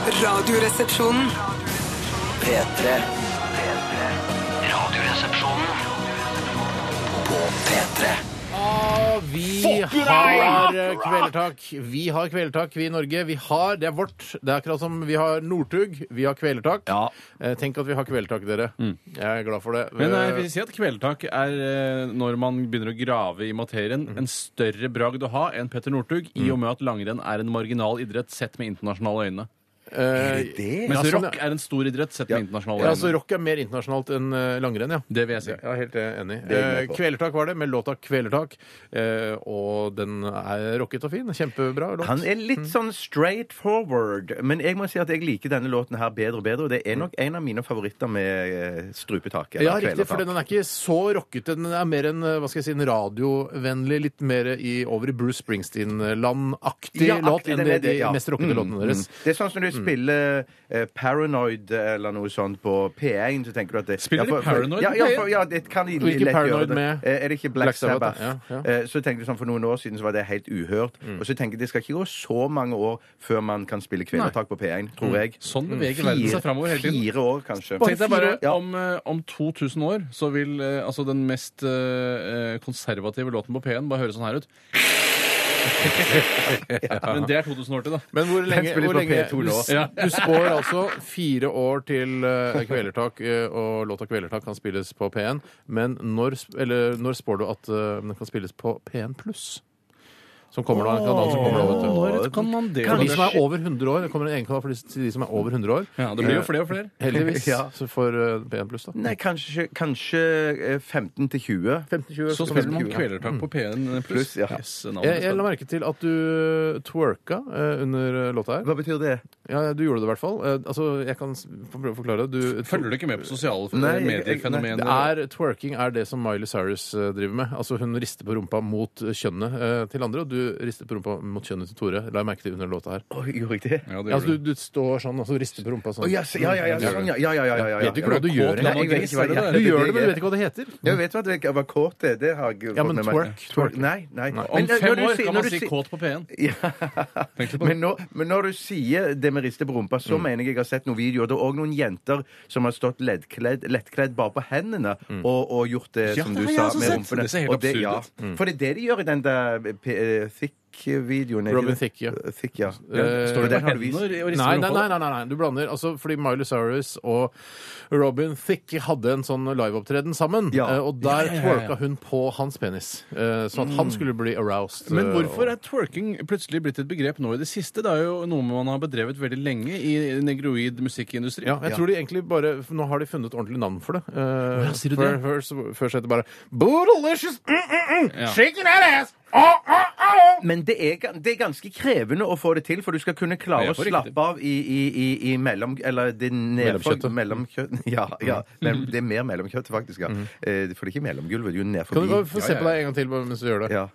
Radioresepsjonen. P3. Radioresepsjonen på P3. Ja, vi har eh, kvelertak. Vi har kvelertak, vi i Norge. Vi har, Det er vårt. Det er akkurat som vi har Northug. Vi har kvelertak. Ja. Eh, Tenk at vi har kvelertak, dere. Jeg er glad for det. Men jeg Eh, vil si at kvelertak er, eh, når man begynner å grave i materien, en større bragd å ha enn Petter Northug, i og med at langrenn er en marginal idrett sett med internasjonale øyne. eh, Mens sånn, rock er en stor idrett sett med internasjonale ja, altså, øyne. rock er mer internasjonalt enn eh, langrenn, ja. Det vil jeg si. Ja, helt eh, enig. Det er jeg med Eh, på. Kvelertak var det, med låta 'Kvelertak'. Eh, og den er rocket og fin. Kjempebra låt. Han er litt sånn straight forward, men jeg må si at jeg liker denne låten her bedre og bedre. Og det er nok en av mine favoritter med eh, strupetaket. Mm. Ja, eller riktig, for kvelertak. den er ikke så rockete. Den er mer en, eh, hva skal jeg si, en radiovennlig, litt mer i, over i Bruce Springsteen-land-aktig Ja, aktig, låt enn den er de, det, ja. Mm, mest rockete låtene deres. Mm. Det er sånn som når du spiller eh, Paranoid eller noe sånt på P1, så tenker du at det, Spiller de for- for- Paranoid Ja, på ja, P1? for, ja det kan de Hvilke lett gjøre Paranoid det. med? Eh, Er det ikke Black, Black Sabbath, Sabbath? ja, ja. Mm. Eh, Så tenkte du sånn, For noen år siden så var det helt uhørt. Og så tenker jeg det skal ikke gå så mange år før man kan spille kvinnetak på P1, Mm. tror jeg. Sånn beveger verden seg framover hele tiden. Fire år, kanskje. Tenk deg bare, Ja. om, eh, om 2000 år så vil eh, altså den mest eh, konservative låten på P1 bare høre sånn her ut. Men det er 2000 år til, da. Men hvor lenge, spilles hvor på lenge P2 du, nå. s- du spår altså fire år til eh, Kvelertak eh, og låta 'Kvelertak' kan spilles på P1, men når, sp- eller, når spår du at eh, den kan spilles på P1 pluss? Som kommer da, en kanal som kommer da, vet du. Når kan man det? For de som er over 100 år, det kommer en egen kanal for de, til de som er over 100 år. Eh, Ja, det blir jo flere og flere. Heldigvis. Ja. Så for eh, P1 pluss, da. Nei, kanskje, kanskje eh, 15 til 20. 15-20 Så spiller man Kvelertak på P1 pluss. Pluss, ja. Yes, Jeg, navnet jeg la bestemmer. merke til at du twerka eh, under eh, låta her. Hva betyr det? Ja, ja, du gjorde det i hvert fall. Eh, altså, jeg kan s- få prøve å forklare. Du, Følger du ikke med på Nei, sosiale jeg- jeg- det medier-fenomener? er, twerking er det som Miley Cyrus eh, driver med. Altså Hun rister på rumpa mot eh, kjønnet eh, til andre, og du rister på rumpa mot kjønnet til Tore. La jeg merke til under låta her. Oi, gjorde jeg det? Ja, det Ja, altså, gjør du. du, du står sånn og så rister på rumpa Å, sånn. ja, så- ja, ja, ja, sånn, ja, ja, ja, ja, ja, ja. Vet du ikke hva du Jeg gjør? vet Nei, jeg vet ikke hva det er. Du det gjør det, men jeg du gjør. vet ikke hva det heter. Jeg vet hva, det, hva kåt er. Det har jeg Ja, men fått med meg. twerk, twerk. Nei, nei. Om når fem du år sier- kan når man du si sier- kåt på P1. Ja. Tenk litt på det. Men når, men når du sier det med riste på rumpa, så Mm. mener jeg jeg har sett noen videoer. Det er òg noen jenter som har stått leddkledd, lettkledd bare på hendene og, og gjort det Mm. Ja, som det du har jeg sa, også med sett. rumpene. Det ser helt Og absurd ja. ut. Mm. For det er det de gjør i den der P- eh, Thick-videoen. er det Robin det? Thicke, ja. Thick, ja. Eh, Står det den på har du vist. hendene og rister Nei, på nei, rumpa? nei, nei, nei, nei, du blander. Altså, fordi Miley Cyrus og Robin Thicke hadde en sånn liveopptreden sammen. Ja. eh, Og der Ja, ja, ja, ja. twerka hun på hans penis, eh, sånn at han skulle bli aroused. Men eh, hvorfor og- er twerking plutselig blitt et begrep nå i det siste? Det er jo noe man har bedrevet veldig lenge i negroid musikkindustri. ja, jeg tror de egentlig bare Nå har de funnet ordentlig navn for det. Eh, sier du før, det? Før, så- før så het det bare Boodalicious mm, mm, mm, Ja. shaking that ass! Oh, oh, oh! Men det er, gan- det er ganske krevende å få det til, for du skal kunne klare Ja, å for riktig. slappe av i, i, i, i mellom... Eller det nedfor... Mellomkjøttet. Mellomkjøtt. Ja, ja. Men det er mer mellomkjøttet, faktisk. Ja. Eh, For det er ikke mellomgulvet, det er jo ned Mm. Kan du bare forbi. få se ja, på deg en gang til bare mens du gjør det? Ja.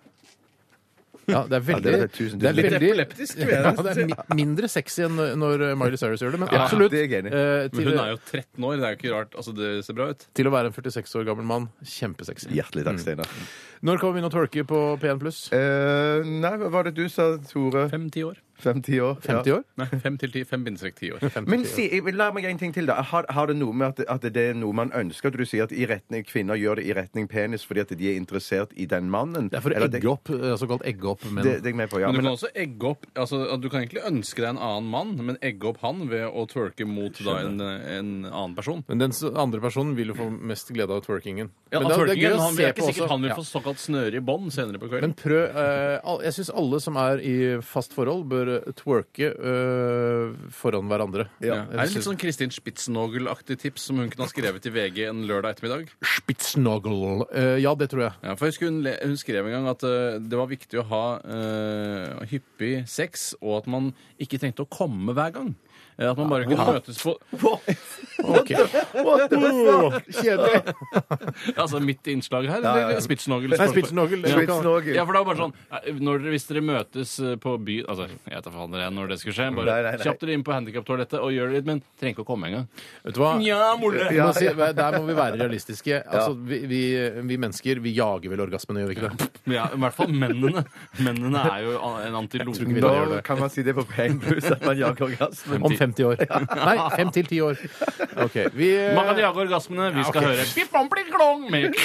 Ja, det er veldig, Ja, det er tusen tusen. Litt epileptisk, vil jeg altså. ja, det er mi- mindre sexy enn eh, når Miley Cyrus gjør det, men Ja, absolutt. det er jeg enig i. eh, Men til, hun er jo 13 år, det er jo ikke rart. Altså, det ser bra ut. til å være en 46 år gammel mann, kjempesexy. Hjertelig takk, Steinar. Når kan vi begynne å twerke på P1 pluss? Eh, nei, hva var det du sa, Tore? Fem-ti år. 50 år? Ja. 50 år? Nei, fem til ti. Fem bindestrek ti år. Men si, jeg vil- la meg en ting til, da. Har, har det noe med at, at det er noe man ønsker? At du sier at i retning, kvinner gjør det i retning penis fordi at de er interessert i den mannen? Det er for å Eller egge opp, eh, såkalt egge opp menn. Det, det er jeg med på, ja. Men du Men, kan også egge opp altså, at Du kan egentlig ønske deg en annen mann, men egge opp han ved å twerke mot da, en, en annen person. Men den s- andre personen vil jo få mest glede av twerkingen. Ja, Men det er- av det er twerkingen, gøy å men han, se det er ikke på sikkert også. han vil Ja. få såkalt snøre i bånd senere på Men kvelden. prøv eh, al- Jeg syns alle som er i fast forhold, bør twerke eh, foran hverandre. ja. Er det Jeg litt synes- sånn Kristin Spitsnogel-aktig tips som hun kunne ha skrevet i VG en lørdag ettermiddag? Spitznoggle. Eh, ja, det tror jeg. Ja, for jeg husker hun, le- hun skrev en gang at eh, det var viktig å ha eh, hyppig sex, og at man ikke trengte å komme hver gang. Eh, At man bare kunne møtes på Ok. Oh! Kjedelig. Altså mitt innslag her? ja, ja. eller Spitsnogel. Nei, Spitznoggle. Ja. Spitsnogel. Ja, for det var bare sånn eh, når dere, Hvis dere møtes eh, på by Altså, jeg tar faen dere når det skulle skje. Bare Nei, nei, nei. kjapp dere inn på handikaptoalettet og gjør det litt, men trenger ikke å komme engang. Vet du hva? Nja, molle! Vi må si, der må vi være realistiske. Altså, vi, vi, vi mennesker vi jager vel orgasmen, gjør vi ikke det? Ja, I hvert fall mennene. Mennene er jo an- en antilope. ikke vi Nå kan man si det på pengebuss at man jager orgasmen. Om 50 år. Nei, 5 til 10 år. OK. Vi eh, Man kan jage orgasmene. Vi skal ok. høre Pip, om, pling, klong, med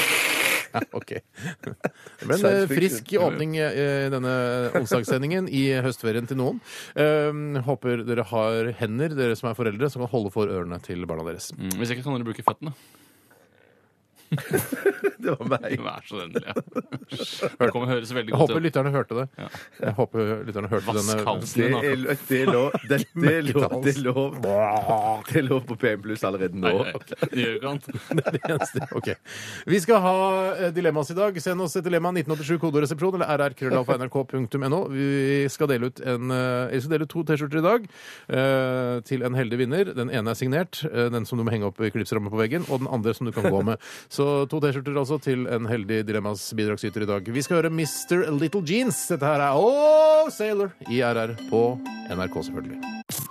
OK. Det ble en eh, frisk åpning eh, i denne onsdagssendingen i høstferien til noen. Eh, håper dere har hender, dere som er foreldre, som kan holde for ørene til barna deres. Mm, Hvis ikke kan dere bruke føttene. Det var meg. Vær så vennlig. Det kommer høres Jeg veldig godt håper ut. lytterne hørte det. Jeg håper lytterne hørte Vask denne Det halsen er, din. lo- det er lov det, det er lov Det er lov, det er lov på PM Pluss allerede nå. Det er det eneste. Ok. Vi skal ha eh, dilemmas i dag. Send oss et dilemma 1987 kodoresepsjon eller rrkrøllalfa.nrk.no. Vi skal dele ut, en, eh, vi skal dele ut to T-skjorter i dag eh, til en heldig vinner. Den ene er signert, eh, den som du må henge opp i klipsramme på veggen, og den andre som du kan gå med. Så to T-skjorter altså til en heldig dilemmas bidragsyter i dag. Vi skal høre Mr. Little Jeans. Dette her er Oh Sailor i RR på NRK, selvfølgelig.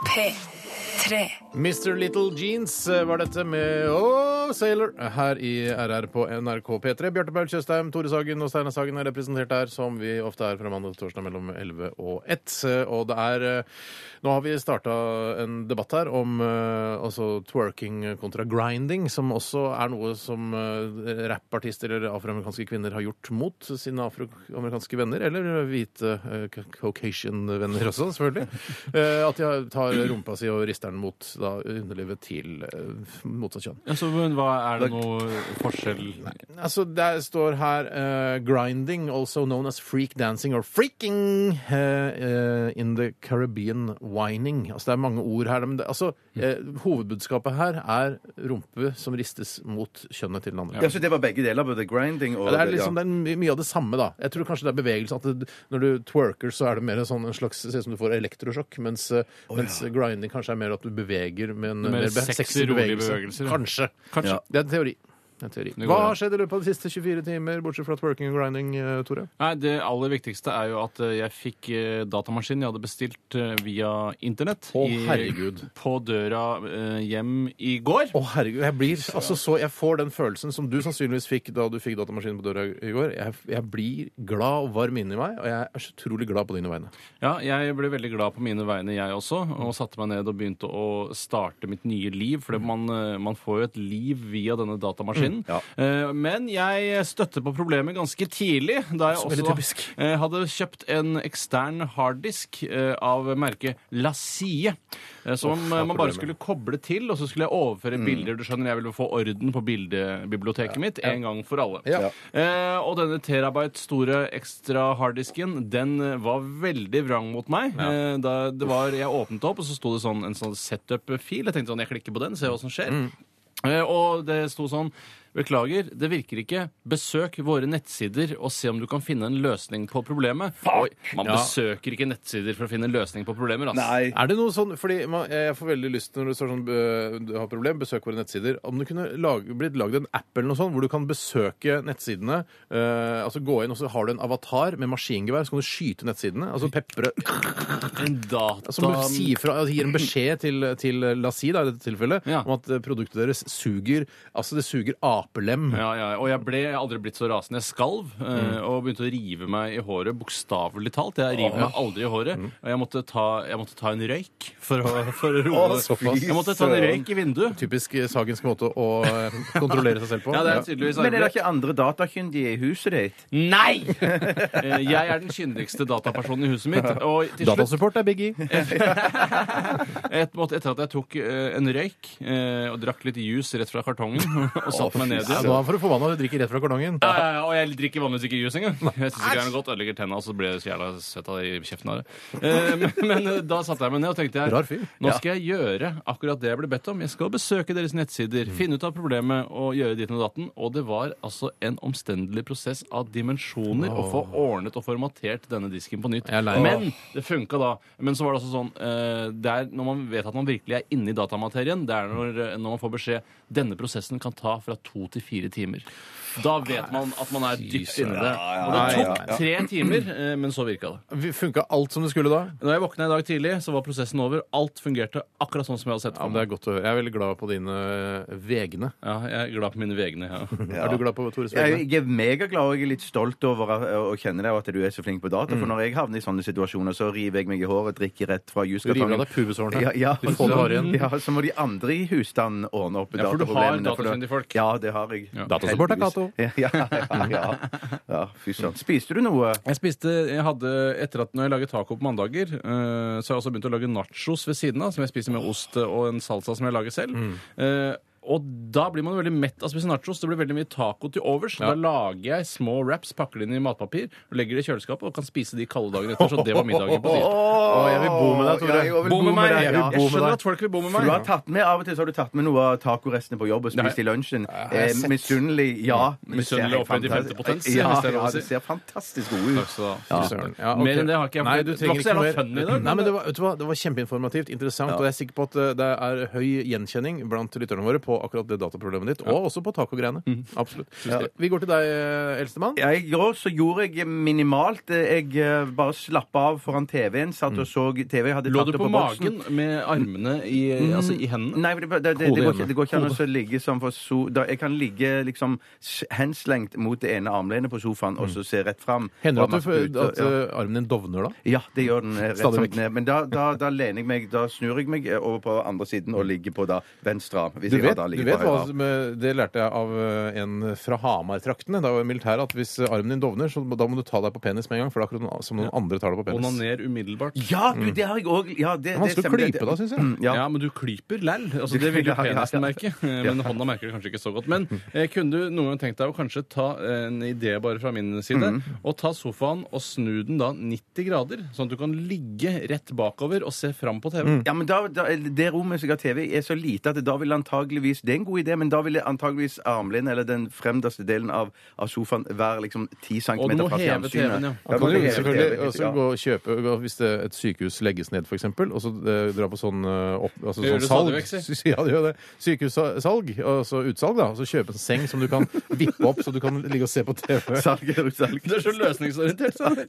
P3. Mr. Little Jeans eh, var dette med Oh Sailor her i RR på NRK P3. Bjarte Paul Tjøstheim, Tore Sagen og Steinar Sagen er representert her, som vi ofte er fra mandag til torsdag mellom 11 og 1. Eh, Og det er eh, Nå har vi starta en debatt her om eh, altså twerking kontra grinding, som også er noe som eh, rappartister eller afroamerikanske kvinner har gjort mot sine afroamerikanske venner, eller hvite eh, ca- Caucasian-venner også, selvfølgelig. Eh, At de har- tar rumpa si og rister den mot da, underlivet til eh, motsatt kjønn. Ja, så, men hva er det noe forskjell Altså, Der står her eh, 'grinding, also known as freak dancing or freaking eh, eh, in the Caribbean whining'. Altså, Det er mange ord her. Men det, altså, eh, hovedbudskapet her er rumpe som ristes mot kjønnet til den andre. Ja, så det var begge deler, både grinding og Ja, Det er liksom det er my- mye av det samme, da. Jeg tror kanskje det er bevegelse. At det, når du twerker, så er det mer en sånn en slags Ser ut som du får elektrosjokk. Mens, eh, mens grinding kanskje er mer at du beveger med en Mer mer be- sexy, sexy rolige bevegelse. bevegelser, ja. Kanskje. Kanskje. Det er en teori. Det er en teori. går Hva an. har skjedd i løpet av de siste 24 timer, bortsett fra twerking og grinding, eh, Tore? Nei, Det aller viktigste er jo at eh, jeg fikk eh, datamaskinen jeg hadde bestilt eh, via internett, Å, i- herregud. på døra eh, hjem i går. Å, herregud. Jeg blir altså så Jeg får den følelsen som du sannsynligvis fikk da du fikk datamaskinen på døra i går. Jeg, jeg blir glad og varm inni meg, og jeg er så utrolig glad på dine vegne. Ja, Jeg ble veldig glad på mine vegne, jeg også, og satte meg ned og begynte å starte mitt nye liv. Mm. For man, eh, man får jo et liv via denne datamaskinen. Eh, Men jeg støtte på problemet ganske tidlig, da jeg Så veldig også typisk. eh, hadde kjøpt en ekstern harddisk eh, av merket Lasie. eh, Som Uff, eh, ja, man bare problemet. skulle koble til, og så skulle jeg overføre bilder. Du skjønner, jeg ville få orden på bildebiblioteket mitt en gang for alle. Ja. Eh, og denne terabyte store ekstra harddisken, den eh, var veldig vrang mot meg. Eh, da det var, jeg åpnet opp, og så sto det sånn, en sånn setup-fil. Jeg tenkte sånn, jeg klikker på den, ser hva som skjer. Eh, og det sto sånn Beklager, det virker ikke. Besøk våre nettsider og se om du kan finne en løsning på problemet. Oi, man Ja. besøker ikke nettsider for å finne en løsning på problemer, ass. Nei. Er det noe sånn, fordi man, Jeg får veldig lyst når det står sånn øh, Du har problem, besøk våre nettsider. Om det kunne lag, blitt lagd en app eller noe sånt hvor du kan besøke nettsidene øh, altså Gå inn, og så har du en avatar med maskingevær, så kan du skyte nettsidene. altså pepre, En data... Som sier fra, altså gir en beskjed til, til eh, Lassie da, i dette tilfellet Ja. om at øh, produktet deres suger altså det suger apelem. Ja, ja, og jeg ble jeg har aldri blitt så rasende. Jeg skalv eh, og begynte å rive meg i håret, bokstavelig talt. Jeg river meg aldri i håret. Og jeg måtte ta, jeg måtte ta en røyk for å, for å roe Å, det. fy Jeg måtte ta en søren. røyk i vinduet. Typisk eh, sagensk måte å øh, kontrollere seg selv på. Ja, det er tydeligvis Men er det arbeid. ikke andre datakyndige i huset ditt? Nei! Eh, Jeg er den kyndigste datapersonen i huset mitt. Og til slutt, Datasupport er biggie. et, måte etter at jeg tok eh, en røyk eh, og drakk litt juice rett fra kartongen og satte meg ned Ja, igjen da får du forbanna når du drikker rett fra kordongen. Ja, ja, ja, og jeg drikker vanligvis ikke juice engang. Jeg synes ikke det er noe godt, Ødelegger tenna, og så blir jeg så jævla søt av det i kjeften av det. Eh, Men, men eh, da satte jeg meg ned og tenkte jeg, Rar fyr. nå skal jeg gjøre akkurat det jeg ble bedt om. Jeg skal besøke deres nettsider, finne ut av problemet og gjøre ditten og datten. Og det var altså en omstendelig prosess av dimensjoner å få ordnet og formatert denne disken på nytt. Jeg er lei meg. Men det funka da. Men så var det også sånn eh, det er Når man vet at man virkelig er inne i datamaterien, det er når, eh, når man får beskjed denne prosessen kan ta fra to til fire timer. Da vet man at man er dypt søren. inni det. ja, Og det ja, ja, tok tre timer, eh, men så virka det. Funka alt som det skulle da? Når jeg våkna i dag tidlig, så var prosessen over. Alt fungerte akkurat sånn som jeg hadde sett Ja, for men det meg. er godt å høre. Jeg er veldig glad på dine eh, vegne. Ja, jeg er glad på mine vegne. Ja. Ja. Er du glad på Tores Jeg, vegne? jeg er megaglad og jeg er litt stolt over å, å kjenne deg og at du er så flink på data. Mm. For når jeg havner i sånne situasjoner, så river jeg meg i håret, drikker rett fra Du river av juskartongen. deg pubeshårene. Ja, ja. Du får det bare igjen. ja, så må de andre i husstanden ordne opp Ja, for du har dataproblemene, for da- datakyndige folk. Ja, det har jeg. Ja. Datasupport er Cato. Ja, ja, ja, ja. ja fy søren. Spiste du noe? Jeg spiste, jeg hadde, Etter at når jeg lager taco på mandager, eh, så har jeg også begynt å lage nachos ved siden av, som jeg spiser med ost og en salsa som jeg lager selv. Mm. Eh, og da blir man veldig mett av å spise nachos. Det blir veldig mye taco til overs. så Da lager jeg små wraps, pakker det inn i matpapir, og legger det i kjøleskapet og kan spise de kalde dagene etter. Så det var middagen på tirsdag. Å, jeg vil bo med deg, Tore. Ja, jeg vil Bo med meg! deg, Jeg, ja. bo med skjønner deg. at folk vil bo med For du meg. har tatt med, Av og til så har du tatt med noe av tacorestene på jobb og spist i lunsjen. Eh, Misunnelig. Ja. Misunnelig og opphøyd i femte potens, Ja, hvis det er lov å ja, si. Altså- det ser fantastisk god ut. Så, Fy søren. Ja, ok. Mer enn det har ikke Nei, jeg, for det du trenger var ikke så jævla mer. fun i dag, Nei, men det var, vet du hva, det var kjempeinformativt, interessant, og jeg er sikker på at eh, det er høy gjenkjenning blant lytterne våre på akkurat det dataproblemet ditt, og også på taco-greiene. Absolutt. Ja. Vi går til deg, eh, eldstemann. Mm. Ja, I går så gjorde jeg minimalt. Jeg eh, bare slappa av foran TV-en. Satt og så TV. Jeg hadde Mm. Lå tatt du det på boksen. magen med armene i, Mm. altså, i hendene? Nei, det, det, det, det, Hodet går hjemme. ikke, det går ikke an å så ligge sånn for so, da, Jeg kan ligge liksom s- henslengt mot det ene armlenet på sofaen og så se rett fram. Mm. Hender det Og at, du, masse f- ut, og- at ja. eh, armen din dovner da? Ja, det gjør den. eh, rett Stadig som vekk. den er. Men da, da, da lener jeg meg, da snur jeg meg eh, over på andre siden og ligger på da venstre arm. Hvis Du jeg vet, da du ligger vet hva på høyre arm. som eh, Det lærte jeg av eh, en fra Hamar-traktene da jeg var i militæret, at hvis eh, armen din dovner, så da må du ta deg på penis med en gang, for det er akkurat noen- som noen andre tar deg på penis. Onaner umiddelbart. Ja, du, det har jeg òg. Ja, Mm. det, Det Mm. er vanskelig å klipe da, syns jeg. Ja. Ja. men du klyper læll. Altså, det vil jo penisen merke. eh, Men hånda merker det kanskje ikke så godt. Men eh, kunne du noen gang tenkt deg å kanskje ta eh, en idé bare fra min side, Mm. og ta sofaen og snu den da 90 grader, sånn at du kan ligge rett bakover og se fram på TV? Mm. Ja, men da, da, Det rommet som jeg har TV i, er så lite at da vil antageligvis Det er en god idé, men da vil antageligvis armlenet eller den fremderste delen av, av sofaen være liksom 10 cm Og du må fra heve fjernsynet. TV-en, ja. Da må kan du heve selvfølgelig TV-en, også ja. gå og kjøpe gå- Hvis det, et sykehus legges ned, f.eks., og så eh, dra på sånn, eh, opp, altså, Det gjør sånn det salg stadig vekk, Ja, det gjør det. Sykehussalg, altså utsalg, da. Og så kjøpe en seng som du kan vippe opp, så du kan ligge og se på TV. Salg er utsalg. Du er så løsningsorientert. Sånn.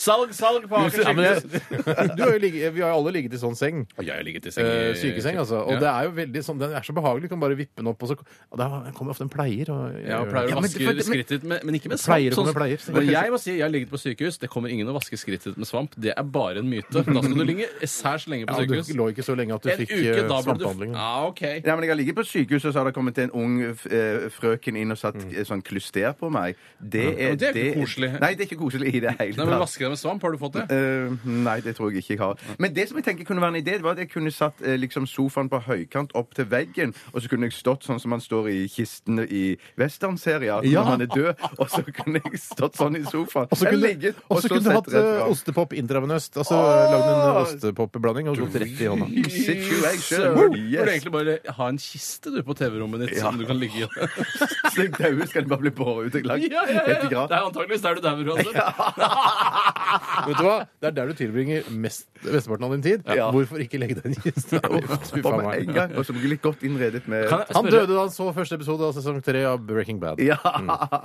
Salg, salg på Aker Ja, men sykehus! jeg, du har jo ligget, vi har jo alle ligget i sånn seng. Jeg har ligget i seng Eh, i- sykeseng, altså. Og Ja. det er jo veldig sånn, den er så behagelig. Du kan bare vippe den opp, og så og der kommer ofte en pleier. Og, Ja, og pleier Ja, å men vaske det- for- men- skrittet, men, men ikke med svamp. Pleier å komme pleier, sier men jeg. jeg må si, jeg har ligget på sykehus. Det kommer ingen å vaske skrittet med svamp. Det er bare en myte. Da skal du ligge særs lenge på ja, sykehus. du lå ikke så lenge at du En fikk eh, uke, da burde du svampehandling. Ja, OK. Nei, men Jeg har ligget på sykehus, og så har det kommet en ung f- eh, frøken inn og satt eh, sånn klyster på meg. Det er, det er ikke koselig. Nei, det er ikke koselig i det hele Nei, men Vaske deg med svamp, har du fått det? Eh, nei, det tror jeg ikke jeg har. Men det som jeg tenker kunne være en idé, det var at jeg kunne satt eh, liksom sofaen på høykant opp til veggen, og så kunne jeg stått sånn som man står i kisten i westernserier Ja. når man er død, og så kunne jeg stått sånn i sofaen. Og så kunne, Eller ligget, og så kunne du sett hatt rett eh, fram. ostepop intravenøst. Altså Åh! lagd en eh, ostepopblanding og gått rett i hånda. Situation. Burde du Yes. egentlig bare ha en kiste du på TV-rommet ditt som du kan ligge i? sånn? Slik daue skal det bare bli båret ut. Jeg lager Ja, ja, helt i ja. grav. Det er antakeligvis der du dauer uansett. Vet du hva? Det er der du tilbringer mest, mesteparten av din tid. Ja. Hvorfor ikke legge deg i en kiste? Fy På faen med en meg. gang, og så blir litt godt innredet med Kan jeg Han spørre- døde da han så første episode av sesong tre av Breaking Bad. Ja.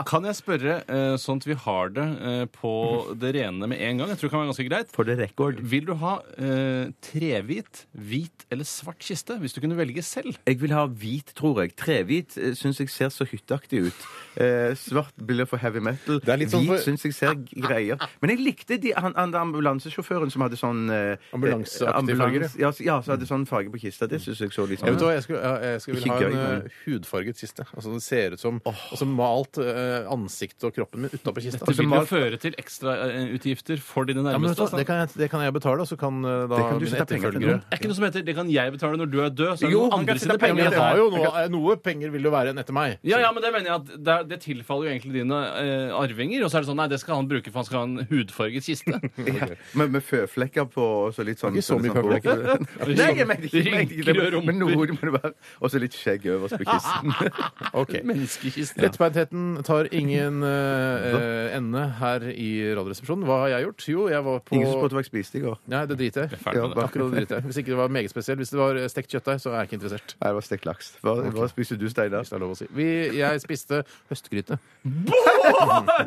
Kan jeg spørre, eh, sånn at vi har det eh, på det rene med en gang? Jeg tror det kan være ganske greit. For det rekord. Vil du ha eh, trehvit, hvit eller svart kiste hvis du kunne velge selv? Jeg vil ha hvit, tror jeg. Trehvit eh, syns jeg ser så hytteaktig ut. Eh, svart blir for heavy metal. Det er litt sånn hvit for- syns jeg ser greier. Men jeg likte de, han, han ambulansesjåføren som hadde sånn eh, Ambulanseaktig farger, ja. så- Ja, så hadde sånn farge på kista. Det syns jeg så litt Jeg, sånn vet du hva, jeg, skulle, jeg- jeg skulle vil Ikke ha gøy, en men- eh, hudfarget kiste. Altså Det ser ut som altså, malt eh, ansiktet og kroppen min utapå kista. Det Altså, vil jo malt- føre til ekstrautgifter for dine ja, men, vet nærmeste. altså. du hva, det, kan jeg, det kan jeg betale, og så kan eh, da Det kan du mine sette penger til etterfølgere noen. Det er ikke noe som heter 'det kan jeg betale når du er død'. Så er det Jo, noen han kan andre sine Ja, sette penger. men jeg til har jo det. noe, eh, noe penger vil jo være igjen etter meg. Ja, ja, men det mener jeg at det, det tilfaller jo egentlig dine eh, arvinger. Og så er det sånn nei, det skal han bruke, for han skal ha en hudfarget kiste. Ja, men med føflekker på og så litt sånn Ikke så mye sånn- føflekker. Nei, jeg mener ikke, jeg mener ikke det. Men noe må det være. Og så litt skjegg øverst på kisten. Ok. Menneskekisten. Lettbeintheten tar ingen eh, eh, ende her i Radioresepsjonen. Hva har jeg gjort? Jo, jeg var på Ingen som spurte hva jeg spiste i går. Nei, det driter jeg i. Ferdig med det. Akkurat det driter jeg i. Hvis ikke det var meget spesielt. Hvis det var eh, stekt kjøttdeig, så er jeg ikke interessert. Nei, det var stekt laks. Hva, hva spiser du, Steinar? Hvis det er lov å si. Vi, jeg spiste høstgryte.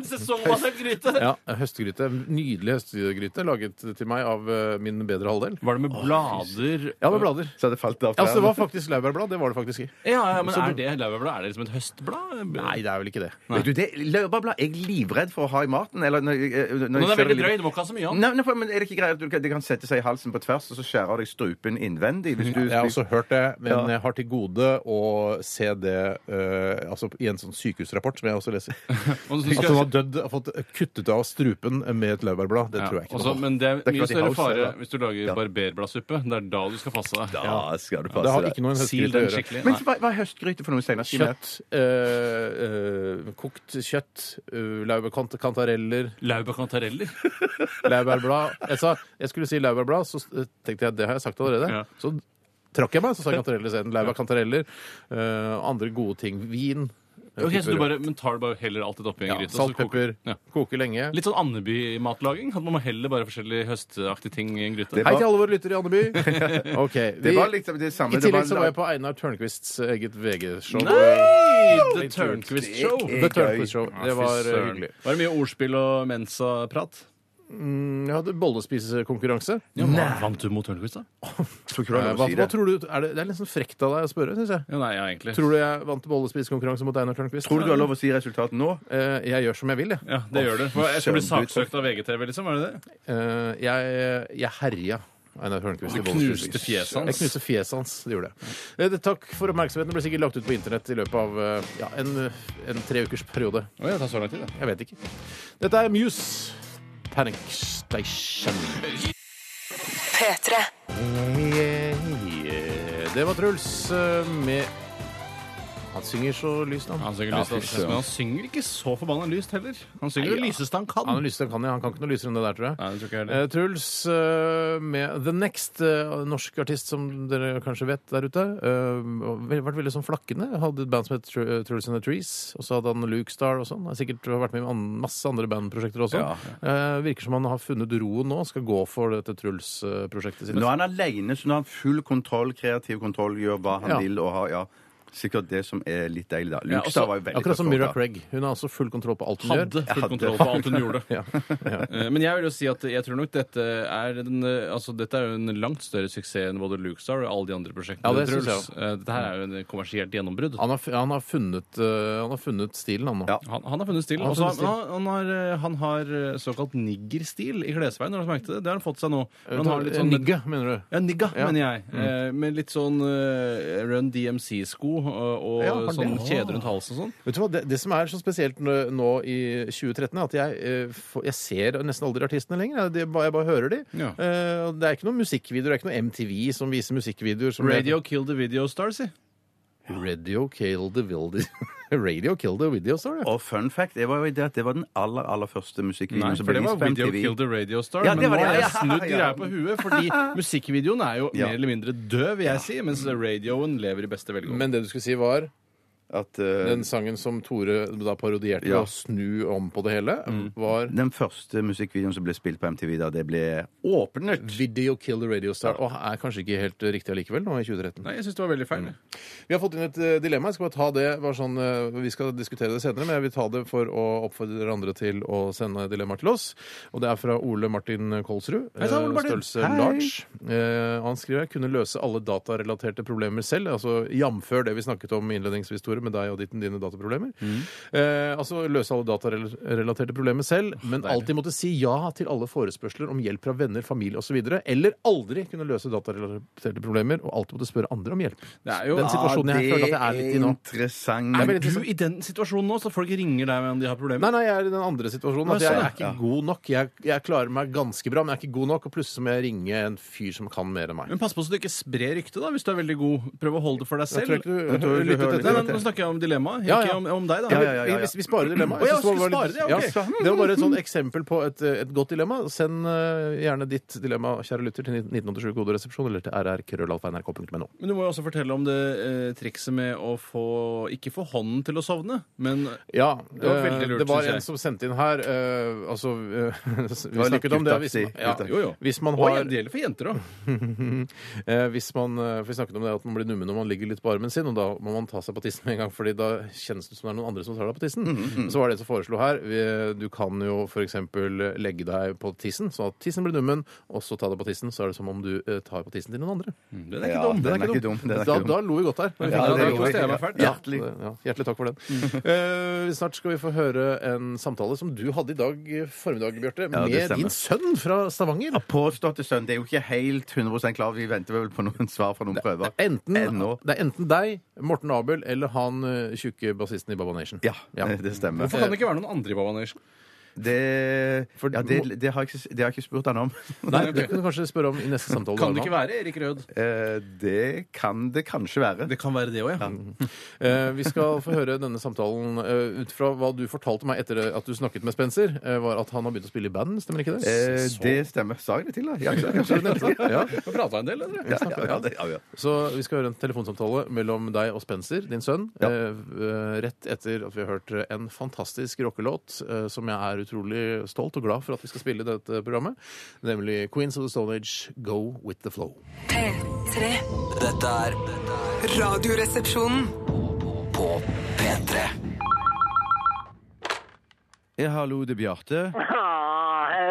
Sesongbasert gryte! Ja, høstgryte. Nydelig høstgryte laget til meg av eh, min bedre halvdel. Var det med blader Ja, med blader. Så hadde det falt av Ja, så det var faktisk laurbærblad. Det var det faktisk i. Ja, ja, men er det laurbærblad? Er det liksom et høstblad? Nei, det er vel ikke det. Vet du, det Laurbærblad er jeg livredd for å ha i maten. Eller når, jeg- eh, når jeg Den er kjører veldig litt- drøy. Du må ikke ha så mye av den. Nei, nei, for- men Er det ikke greit at du kan, det kan sette seg i halsen på tvers, og så skjærer deg strupen innvendig? Hvis du, Jeg har også hørt det, men Ja. jeg har til gode å se det eh, altså, i en sånn sykehusrapport som jeg også leser. Og så At skal- hun har dødd og fått kuttet av strupen med et laurbærblad. Det Ja, tror jeg ikke også, noe på. men det er Det er mye klart i større house, fare ja. hvis du lager barberbladsuppe. Det er da du skal passe deg. Ja, skal du Det passe har deg. ikke noe en Sil høstgryte å den gjøre. skikkelig. Men Nei. hva, hva er høstgryte for noe, Steinar? Si meg. Kjøtt, eh, eh, kokt kjøtt, eh, laurbærkant- kantareller, Laurbær kantareller. laurbærblad jeg, sa- jeg skulle si laurbærblad, så eh, tenkte jeg det har jeg sagt allerede. Ja. Så trakk jeg meg, så sa jeg kantareller isteden. Laurbærkantareller. eh, andre gode ting. Vin. eh, Ok, så pepper. du bare, men tar du bare heller alt dette oppi en ja, gryte? og så Salt, koker- pepper. Ja. Koke lenge. Litt sånn Andeby-matlaging? At man må heller bare forskjellige høstaktige ting i en gryte? Det Hei var- til alle våre lyttere i Andeby. Okay, Det vi- var liksom det samme. I det tillegg så var jeg på lag- Einar Tørnquists eget VG-show. Nei! The Turnquist Show. Det er Eh, The gøy. Turnquist Show. Det var eh, hyggelig. Var det mye ordspill og mensaprat? Mm, Jeg hadde bollespisekonkurranse. Ja, hva- vant du mot Tørnquist, da? Tror ikke du Eh, har lov Hva, å si hva det. tror du, er det, det er litt sånn frekt av deg å spørre, syns jeg. Ja, nei, ja, egentlig. Tror du jeg vant bollespisekonkurranse mot Einar Tørnquist? Tror du du har lov å si resultatet nå? Eh, Jeg gjør som jeg vil, jeg. Ja, det gjør du. For jeg skal bli søren, du- saksøkt av VGTV, liksom? Er det det? Eh, Jeg, jeg herja Einar Tørnquist i Du bollespisekonkurranse. knuste fjeset Jeg hans. knuste fjeset hans. Det gjorde jeg. Eh, det- Takk for oppmerksomheten. Det ble sikkert lagt ut på internett i løpet av eh, ja, en, en tre ukers periode. Oi, det tar så lang tid, det. Jeg vet ikke. Dette er Muse. Panic Station. P3. Hey, det var Truls eh, med Han synger så lyst, han. Han synger lyst, fy altså, søren. men han synger ikke så forbanna lyst heller. Han synger det lyseste han kan. Han har lyst, han kan, ja. han kan ikke noe lysere enn det der, tror jeg. Nei, det tror ikke jeg heller. Eh, Truls eh, med The Next, eh, norsk artist som dere kanskje vet der ute. eh, og ve- vært veldig sånn flakkende. Hadde et band som het Tr- eh, Truls and the Trees. Og så hadde han Luke Star og sånn. Har sikkert vært med i an- masse andre bandprosjekter også. Ja, Eh, virker som han har funnet roen nå. Skal gå for dette Truls-prosjektet sitt. Nå er han aleine, så nå har han full kontroll, kreativ kontroll, gjør hva han Ja. vil og har ja, Sikkert det som er litt deilig, da. Ja, Luke også- Star var jo veldig Akkurat som tøff, Myra da. Craig. Hun har også full kontroll på alt hun Hadde gjør. full kontroll på alt hun gjorde. Ja, ja. Eh, Men jeg vil jo si at jeg tror nok dette er den, eh, altså dette er jo en langt større suksess enn både Luke Star og alle de andre prosjektene. Ja, det til synes jeg Truls. Eh, Dette her er jo en kommersielt gjennombrudd. Han, har, f- han, har funnet, eh, han har funnet stilen, han nå. Ja. Han, han har funnet stil. Han har Også, funnet stil. han, han, har, eh, han har eh, såkalt niggerstil i klesveien. Har du merket det? Det har han fått seg nå. Eh, Men Han har litt sånn, Nigge, mener du? ja, nigga, Ja. mener jeg. Eh, Med litt sånn eh, Run DMC-sko og, og Ja, har det. sånn Ah. kjede rundt halsen og sånn. Vet du hva, det, det som er så spesielt nå, nå i 2013, er at jeg, eh, får- jeg ser nesten aldri artistene lenger. Jeg, det, bare- jeg bare hører de. Ja. Eh, og det er ikke noen musikkvideoer, det er ikke noe MTV som viser musikkvideoer. Som Radio Kill the Video Star, si. Radio Kill the Wildies. Radio Kill the Video, står det. Og fun fact det var jo det at det var den aller aller første musikkvideoen Nei, som for ble det vist var på Video MTV. Kill the Radio Star. Ja, det men var nå det, ja, har jeg ja, snudd ja. greia på huet, fordi musikkvideoen er jo Ja. mer eller mindre død, vil jeg si, mens radioen lever i beste velgående. Men det du skulle si, var At, eh, den sangen som Tore da parodierte Ja. ved å snu om på det hele, Mm. var den første musikkvideoen som ble spilt på MTV da det ble åpnet. Video Kill the Radio Star. Og er kanskje ikke helt riktig allikevel nå i 2013. Nei, jeg syns det var veldig feil. Vi har fått inn et eh, dilemma. Jeg skal bare ta det, bare sånn, eh, Vi skal diskutere det senere, men jeg vil ta det for å oppfordre andre til å sende dilemmaer til oss. Og Det er fra Ole Martin Kolsrud. Hei sann, Ole eh, Martin. Størrelse Hei. large. Eh, Han skriver jeg kunne løse alle datarelaterte problemer selv. altså Jamfør det vi snakket om innledningsvis, Tore, med deg og ditt, dine dataproblemer. Mm. Eh, altså løse alle datarelaterte problemer selv, men alltid måtte si ja til alle forespørsler om hjelp fra venner, familie osv. Eller aldri kunne løse datarelaterte problemer og alltid måtte spørre andre om hjelp. Det er jo Den situasjonen jeg føler at jeg er litt i nå. Interessant. Jeg er veldig Du, i den situasjonen nå, så folk ringer deg om de har problemer. Nei, nei, jeg er i den andre situasjonen. At Men jeg sånn, er ikke god nok. Jeg, jeg klarer meg ganske bra, men jeg er ikke god nok. Og plutselig så må jeg ringe en fyr som kan mer enn meg. Men pass på så du ikke sprer ryktet, da, hvis du er veldig god. Prøv å holde det for deg Jeg selv. tror ikke du tror jeg hører ikke du lyttet til hører Nei, dette. men, nå snakker jeg om dilemmaet, Ja, ikke ja. om, om deg, da. Ja, ja, ja, ja. Vi, vi- vi sparer dilemmaet. Å, ja, Jeg synes skal vi var spare det? litt- Ja, ok. hmm. det var bare et sånn eksempel på et, et godt dilemma. Send eh, gjerne ditt dilemma, kjære lytter, til 1987 Koderesepsjon eller til rrkrøllalfa.nrk.no. Men du må jo også fortelle om det eh, trikset med å få Ikke få hånden til å sovne, men Ja, Det var eh, veldig lurt, det var synes jeg. en som sendte inn her eh, Altså, eh, vi var litt snakket om det hvis utaktig, man, ja, utaktig. Jo, jo. Hvis man Og har det gjelder for jenter òg. Eh, hvis man, eh, for vi snakket om det at man blir nummen når man ligger litt på armen sin, og da må man ta seg på tissen med en gang, fordi da kjennes det som det er noen andre som tar deg på tissen. Mm, Så var det en som foreslo her vi- eh, Du kan jo f.eks. legge deg på tissen, sånn at tissen blir nummen, og så ta deg på tissen, så er det som om du eh, tar på tissen til noen andre. Den er ikke Ja, dum. Mm. den er ikke dum. Den er da, ikke dum. da lo vi godt her. Ja, det da gjorde koste jeg vi. meg fælt. Ja. Hjertelig. Ja, hjertelig takk for den. Mm. Eh, snart skal vi få høre en samtale som du hadde i dag eh, formiddag, Bjarte, Ja, det med stemmer. din sønn fra Stavanger. Påståtte sønn. Det er jo ikke helt 100 klar. Vi venter vel på noen svar fra noen prøver. Enten, Ennå. det er enten deg, Morten Abel, eller han eh, tjukke bassisten i Baba Nation. Ja, det stemmer. Hvorfor kan det ikke være noen andre i Baba Nation? Det, For- ja, det, det, har jeg ikke, det har jeg ikke spurt han om. Nei, Nei, ok. Det kan du kanskje spørre om i neste samtale. Kan Arman. det ikke være Erik Rød? Eh, Det kan det kanskje være. Det kan være det òg, ja. Eh, vi skal få høre denne samtalen eh, ut fra hva du fortalte meg etter at du snakket med Spencer, eh, var at han har begynt å spille i band, stemmer ikke det? Eh, Så- Det stemmer. Sa jeg det til, da? Ja, ja, Så du nevnte det? Ja. Vi prata en del, eller? ja, ja, ja, det- ja, ja. Så vi skal høre en telefonsamtale mellom deg og Spencer, din sønn, Ja. eh, eh, rett etter at vi har hørt en fantastisk rockelåt eh, som jeg er utrolig stolt og glad for at vi skal spille i dette programmet, nemlig Queens of the Stone Age, Go With The Flow. P3 Dette er Radioresepsjonen. på P3. Ja, hallo, det er Bjarte. Ah,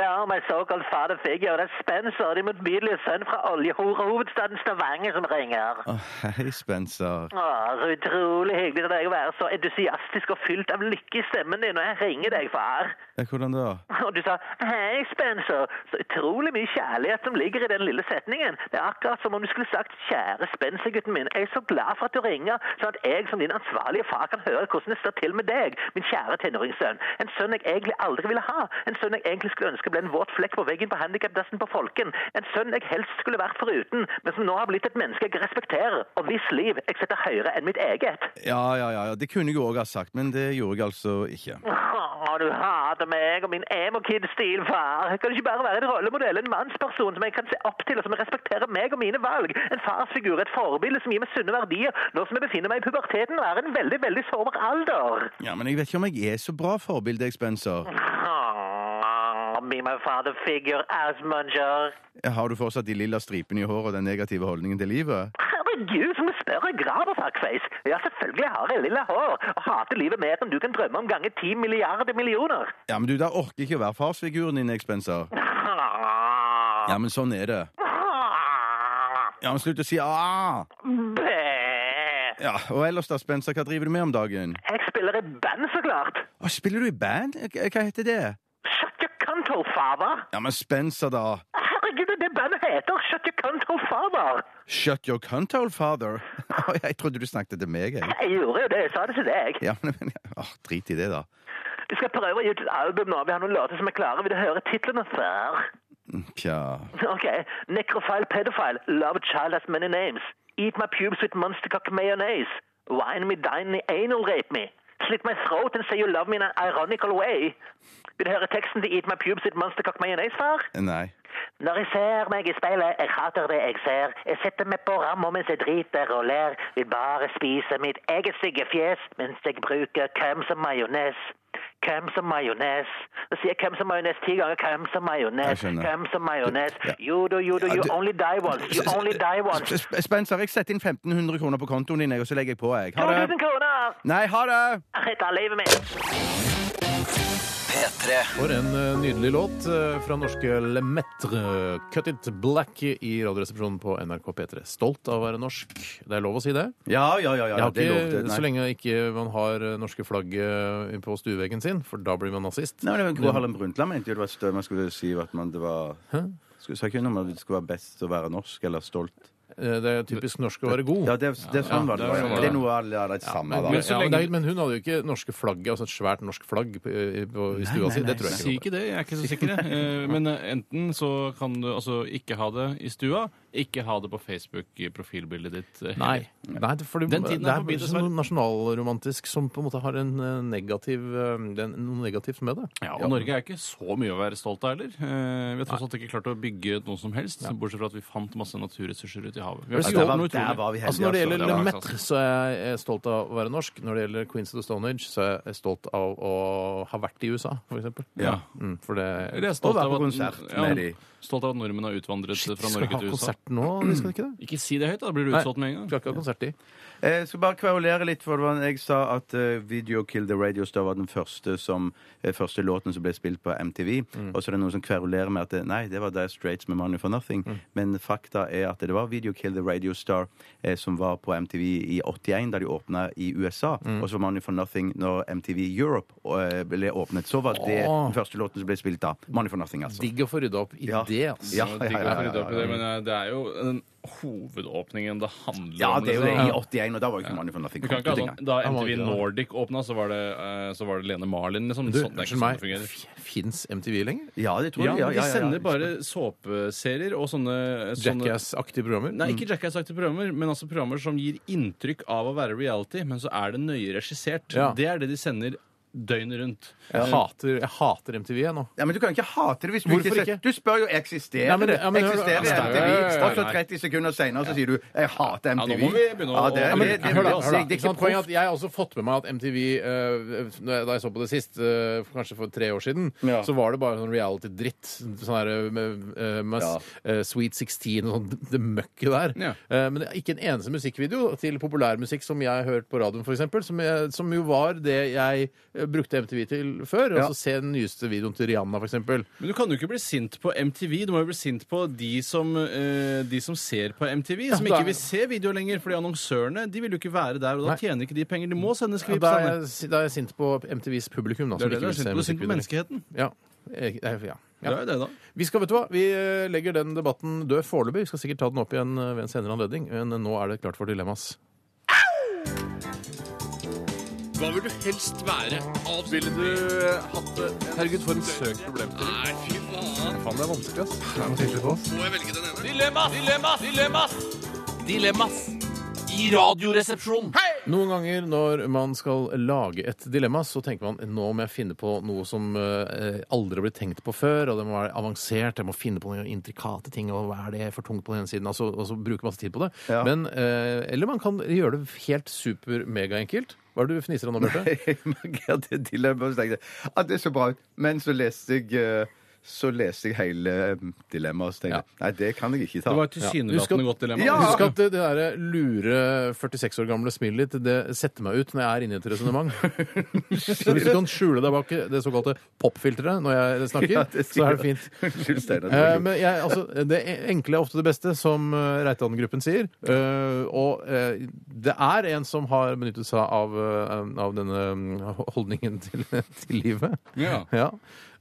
Ja, my såkalt father figure. Det er Spencer, din motbydelige sønn fra oljehovedstaden Stavanger som ringer. Å, Hei, Spencer. Ah, så utrolig hyggelig av deg å være så entusiastisk og fylt av lykke i stemmen din når jeg ringer deg, far. Ja, Hvordan da? Og du sa 'hei, Spencer'. Så utrolig mye kjærlighet som ligger i den lille setningen. Det er akkurat som om du skulle sagt 'kjære Spencer-gutten min', jeg er så glad for at du ringer, sånn at jeg som din ansvarlige far kan høre hvordan det står til med deg, min kjære tenåringssønn. En sønn jeg egentlig aldri ville ha. En sønn jeg egentlig skulle ønske ble en våt flekk på veggen på handikapdassen på Folken. En sønn jeg helst skulle vært foruten, men som nå har blitt et menneske jeg respekterer, og hvis liv jeg setter høyere enn mitt eget. Ja, ja, ja, ja, det kunne jeg òg ha sagt, men det gjorde jeg altså ikke. Åh, du hater meg og min emo-kid-stil, far. Kan du ikke bare være en rollemodell, en mannsperson som jeg kan se opp til, og som respekterer meg og mine valg? En farsfigur, et forbilde som gir meg sunne verdier, nå som jeg befinner meg i puberteten og er en veldig, veldig sårbar alder. Ja, Men jeg vet ikke om jeg er så bra forbilde, jeg, Spencer. Åh, Be my father figure, ass munger. Har du fortsatt de lilla stripene i håret og den negative holdningen til livet? Herregud, som en større grad av fuckface. Ja, selvfølgelig har jeg lilla hår, og hater livet mer enn du kan drømme om ganger ti milliarder millioner. Ja, men du, Da orker jeg ikke å være farsfiguren din, jeg, Spencer. Åh. Ja, men sånn er det. Åh. Ja, men Slutt å si ah! Bæ. Ja, Og ellers da, Spencer, hva driver du med om dagen? Jeg spiller i band, så klart. Å, spiller du i band? K- Hva heter det? Shut your cunt hole, father. Ja, men Spencer, da. Herregud, det er det bandet heter. Shut your cunt hole, father. Shut your cunt hole, father. Å, jeg trodde du snakket til meg, jeg. Jeg gjorde jo det, jeg sa det til deg. Ja, men, men ja. Åh, Drit i det, da. Du skal prøve å gi ut et album nå. Vi har noen låter som er klare. Vil du høre titlene før? Tja Ok. Necrophile pedophile. Love child has many names. Eat my pubes with monstercock mayonnaise. Wine me, dine me, anal rape me. Slit my throat and say you love me in an ironical way. Vil du høre teksten til Eat my pubes with monstercock mayonnaise, far? Nei. Når jeg ser meg i speilet, jeg hater det jeg ser. Jeg setter meg på ramma mens jeg driter og ler. Vil bare spise mitt eget stygge fjes mens jeg bruker køm som majones. Køm som majones. Da sier jeg køm som majones ti ganger. Køm som Jeg majones. skjønner. Køm som majones. Ja. You do, you do, Ja, you du- only die once. You only die once. Sp- Sp- Spencer, jeg setter inn 1500 kroner på kontoen din, jeg, og så legger jeg på, jeg. Ha det. 2000 kroner! Nei, ha det! Jeg tar livet mitt. P3. For en eh, nydelig låt eh, fra norske Lemaitre. Cut It Black i Radioresepsjonen på NRK P3. Stolt av å være norsk. Det er lov å si det. Ja, ja, ja. ja, Jeg har det er lov ikke, til- nei. så lenge ikke man har eh, norske flagget på stueveggen sin, for da blir man nazist. Nei, men det var Gro Harlem Brundtland mente jo det var stø- man skulle si at man det var Skulle- Sa ikke hun om at det skulle være best å være norsk eller stolt? Eh, Det er typisk norsk å være god. Ja, det, er- det er Ja, sånn var det. det var sånn var Det det. er noe alle alle er det samme, da. Men, så ja, men, det lenge- er, men hun hadde jo ikke norske flagget, altså et svært norsk flagg på, i, på, i stua si. Det tror jeg Si ikke. ikke det, jeg er ikke så sikker. jeg. Eh, Men eh, enten så kan du altså ikke ha det i stua, ikke ha det på Facebook-profilbildet ditt. eh, heller. Nei. Nei, det- fordi Den tiden det er er, forbi, det dessverre. noe nasjonalromantisk som på en måte har en eh, negativ, eh, det er noe negativt med det. Ja, og Norge er ikke så mye å være stolt av heller. Eh, Vi har tross alt ikke klart å bygge noe som helst, bortsett fra at vi fant masse naturressurser ute i havet. Vi har Ja, ikke der gjort var- noe utrolig. vi Altså Når det gjelder var- Le Metre, altså. så er jeg stolt av å være norsk. Når det gjelder Queens of the Stone Age, så er jeg stolt av å ha vært i USA, for eksempel. Ja. Mm, for det Eller jeg er Og stolt være av, på at, konsert ja, med de. stolt av at nordmenn har utvandret Shit, fra skal vi Norge ha til USA. konsert nå? Vi skal ikke det? Ikke si det høyt, da. Da blir du Nei. utsolgt med en gang. Skal ikke ha konsert i. Jeg skal Eh, bare kverulere litt, for det var jeg sa at eh, Video Kill The Radio Star var den første, som, eh, første låten som ble spilt på MTV. Mm. Og så er det noen som kverulerer med at eh, nei, det var Dire Straits med Money for Nothing. Mm. Men fakta er at det var Video Kill The Radio Star eh, som var på MTV i 81, da de åpna i USA. Mm. Og så var Money for Nothing når MTV Europe eh, ble åpnet. Så var det Åh. den første låten som ble spilt da. Money for Nothing, altså. Digg å få rydda opp i Ja. det, altså. Ja, Så ja, digg å ja, rydde ja, opp i ja. det, Men eh, det er jo den hovedåpningen det handler Ja, om. det er jo det. liksom. I 81, og da var jo ikke Money for Nothing. Du kan kommet ikke ut ha engang. sånn, Da Jeg må MTV ikke ha det. Nordic åpna, så, var det, eh, så var det Lene Marlin. Liksom. Du, Sånn- det er ikke unnskyld sånn det meg, fungerer. fins MTV lenger? Ja, det tror Ja, jeg. men de sender bare såpeserier og sånne, sånne Jackass-aktige programmer? Nei, ikke Jackass-aktige programmer, men altså programmer som gir inntrykk av å være reality, men så er det nøye regissert. Ja. Det er det de sender døgnet rundt. Jeg hater, jeg hater MTV jeg nå. Ja, men Du kan ikke hate det hvis du Hvorfor ikke, ikke? Du spør jo eksisterer Nei, men- det. ja, men- eksisterer ja, ja, ja, ja, MTV. ja. Og så 30 sekunder senere så sier du 'jeg hater nå MTV'. må vi begynne å- Ja, det, Ja, er- men- det, det, Hør da, hør altså, da. det er Ikke ikke sant? Poenget er proff. at Jeg har også fått med meg at MTV eh, når jeg- Da jeg så på det sist, eh, for kanskje for tre år siden, Ja. så var det bare sånn reality-dritt. Sånn her eh, med, eh, med Ja. eh, Sweet 16 og sånn det- det møkket der. Ja. Eh, men det er ikke en eneste musikkvideo til populærmusikk som jeg har hørt på radioen, f.eks., som, jeg- som jo var det jeg eh, brukte MTV til før. Ja. Altså se den nyeste videoen til Rihanna, f.eks. Men du kan jo ikke bli sint på MTV. Du må jo bli sint på de som, eh, de som ser på MTV, som da- ikke vil se video lenger, fordi annonsørene de vil jo ikke være der, og da Nei. tjener ikke de penger. De må sende Ja, skvips. da, Anne. er jeg- da er jeg sint på MTVs publikum, da. det som er det ikke du vil er se sint på. Du er sint på musikkvideoer. menneskeheten. Ja. Eh, eh, ja. ja. Det er jo det, da. Vi skal, vet du hva, vi eh, legger den debatten død foreløpig. Vi skal sikkert ta den opp igjen eh, ved en senere anledning, men eh, nå er det klart for dilemmas. Hva vil du helst være? Av... Ville du hatt det? Herregud, for en søk problem til. Nei, fy faen. Faen, det er vanskelig, ass. Må jeg velge den ene? Dilemmas! Dilemmas! Dilemmas! Dilemmas! I radioresepsjonen. Noen ganger når man skal lage et dilemma, så tenker man nå må jeg finne på noe som eh, aldri har blitt tenkt på før, og det må være avansert, jeg må finne på noen intrikate ting, og hva er det for tungt på den ene siden, altså, og så bruke masse tid på det. Ja. Men, eh, eller man kan gjøre det helt super-megaenkelt. Hva er det du fniser av nå, Bjarte? Jeg markerte dilemmaet og så tenkte jeg, at det er så bra ut. Men så leste jeg eh, så leste jeg hele eh, dilemmaet og så tenkte jeg, nei, det kan jeg ikke ta. Det var et Ja. Husk at- tilsynelatende godt dilemma. Ja! Husk at det, det der lure 46 år gamle smilet ditt, det setter meg ut når jeg er inne i et resonnement. Så hvis du kan skjule deg bak det såkalte popfilteret når jeg snakker, Ja, det sier så er det fint. jeg. Unnskyld, Steinar. Eh, men jeg, altså, det enkle er ofte det beste, som eh, Reitan-gruppen sier. Eh, og eh, det er en som har benyttet seg av, eh, av denne mm, holdningen til, til livet. Ja.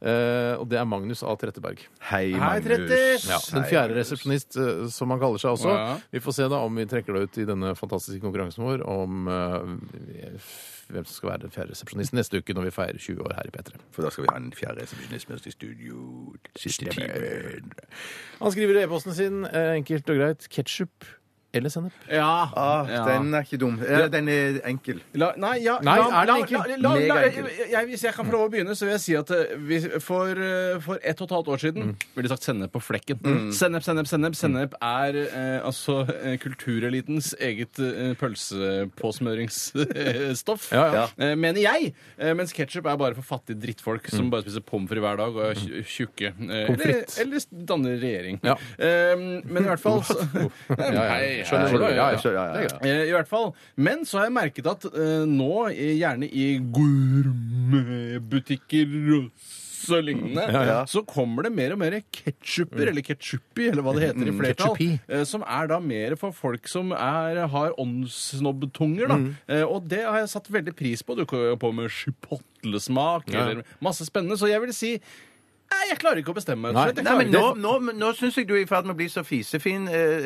Eh, og det er Magnus A. Tretteberg. Hei, Magnus. Trettis! Ja, den fjerde resepsjonist, eh, som han kaller seg også. Ja. Vi får se da om vi trekker det ut i denne fantastiske konkurransen vår om eh, hvem som skal være den fjerde resepsjonisten neste uke når vi feirer 20 år her i P3. For da skal vi ha en fjerde resepsjonist med oss i studio. Siste timen. Han skriver i e-posten sin eh, enkelt og greit ketsjup eller sennep. Ja. Ah, Ja. Den er ikke dum. Ja, den er enkel. La, nei, ja, Nei, la, er den la, enkel? la, la, la, Megaenkel. jeg- jeg, Hvis jeg kan få lov å begynne, så vil jeg si at eh, vi, for, eh, for ett og et halvt år Mm. siden ville sagt sennep på flekken. Sennep, sennep, sennep. Sennep er eh, altså eh, kulturelitens eget eh, pølsepåsmøringsstoff, Ja, ja. Eh, mener jeg. Eh, mens ketsjup er bare for fattige drittfolk som bare spiser pommes frites hver dag og er tj- tjukke. Eh, Mm. Pommes eller, frites. eller danner regjering. Ja. Oh. Eh, men i hvert fall så, Nei, ja. hei, Skjønner du? hei. Ja, ja. Så, ja, ja, ja. Eh, I hvert fall. Men så har jeg merket at eh, nå, eh, gjerne i gourmetbutikker og så lignende, så kommer det mer og mer ketsjuper, eller ketsjupi, eller hva det heter i flertall, Mm. ketchupi. eh, som er da mer for folk som er, har åndssnobbtunger, da. Mm. Eh, og det har jeg satt veldig pris på. Du kan jo på med chipotlesmak, Ja. eller masse spennende. Så jeg vil si Nei, jeg klarer ikke å bestemme meg. Nei. rett og slett. Jeg Nei, klarer men ikke nå, nå, nå syns jeg du er i ferd med å bli så fisefin, eh,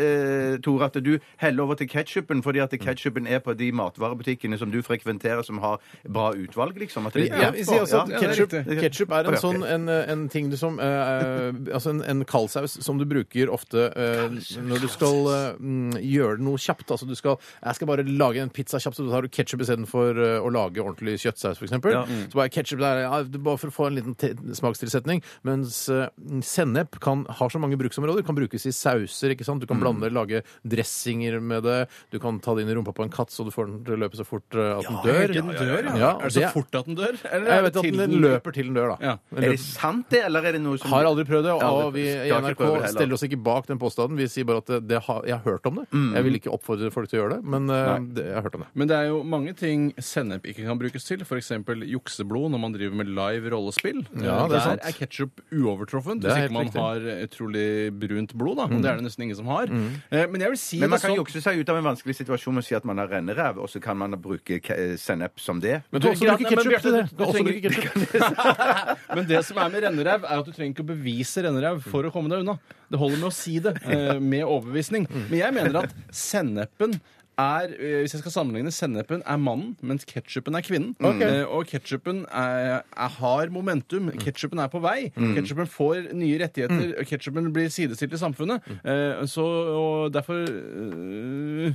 eh, Tore, at du heller over til ketsjupen, fordi Mm. at ketsjupen er på de matvarebutikkene som du frekventerer, som har bra utvalg, liksom. At det er Ja, utvalg vi på. sier også Ja, at ja, det er ketchup, riktig. ketchup er en Å, ja. sånn en, en ting du som eh, Altså en, en kaldsaus som du bruker ofte eh, når du skal eh, mm, gjøre noe kjapt. Altså du skal Jeg skal bare lage en pizza kjapt, så da tar du ketsjup istedenfor uh, å lage ordentlig kjøttsaus, f.eks. eksempel Så bare ketsjup der, ja, det er bare for å få en liten te smakstilsetning. Mens eh, sennep kan, har så mange bruksområder. Kan brukes i sauser, ikke sant. Du kan blande, lage dressinger med det. Du kan ta det inn i rumpa på en katt så du får den til å løpe så fort eh, at den dør. helt til den dør, ja. Ja, er det så det- fort at den dør? Eller er Jeg det vet at til den løper til den dør, da. Ja. Den Er løper. det sant, det, eller er det noe som Har aldri prøvd det, og vi i Skal ikke NRK prøve det heller. stiller oss ikke bak den påstanden. Vi sier bare at det, det har, jeg har hørt om det. Jeg vil ikke oppfordre folk til å gjøre det, men eh, det, jeg har hørt om det. Men det er jo mange ting sennep ikke kan brukes til. F.eks. jukseblod når man driver med live rollespill. Ja, det er Der sant. er ketsjup uovertruffent Det er hvis helt ikke man riktig. Mm. har eh, utrolig brunt blod. da, og Det er det nesten ingen som har. Eh, Men jeg vil si Men man det kan sånn jukse seg ut av en vanskelig situasjon med å si at man har renneræv, og så kan man bruke ke- sennep som det. Men du kan også Bjarte, bruke men ketsjup til det. Bjarte, Du kan også trenger- bruke ketchup. Men det som er med renneræv, er at du trenger ikke å bevise renneræv for å komme deg unna. Det holder med å si det, eh, med overbevisning. Mm. Men jeg mener at sennepen er, eh, hvis jeg skal sammenligne, Sennepen er mannen, mens ketsjupen er kvinnen. Eh, Og ketsjupen er, er har momentum. Mm. Ketsjupen er på vei. Ketsjupen får nye rettigheter. og Ketsjupen blir sidestilt i samfunnet. Mm. Eh, Så og derfor eh,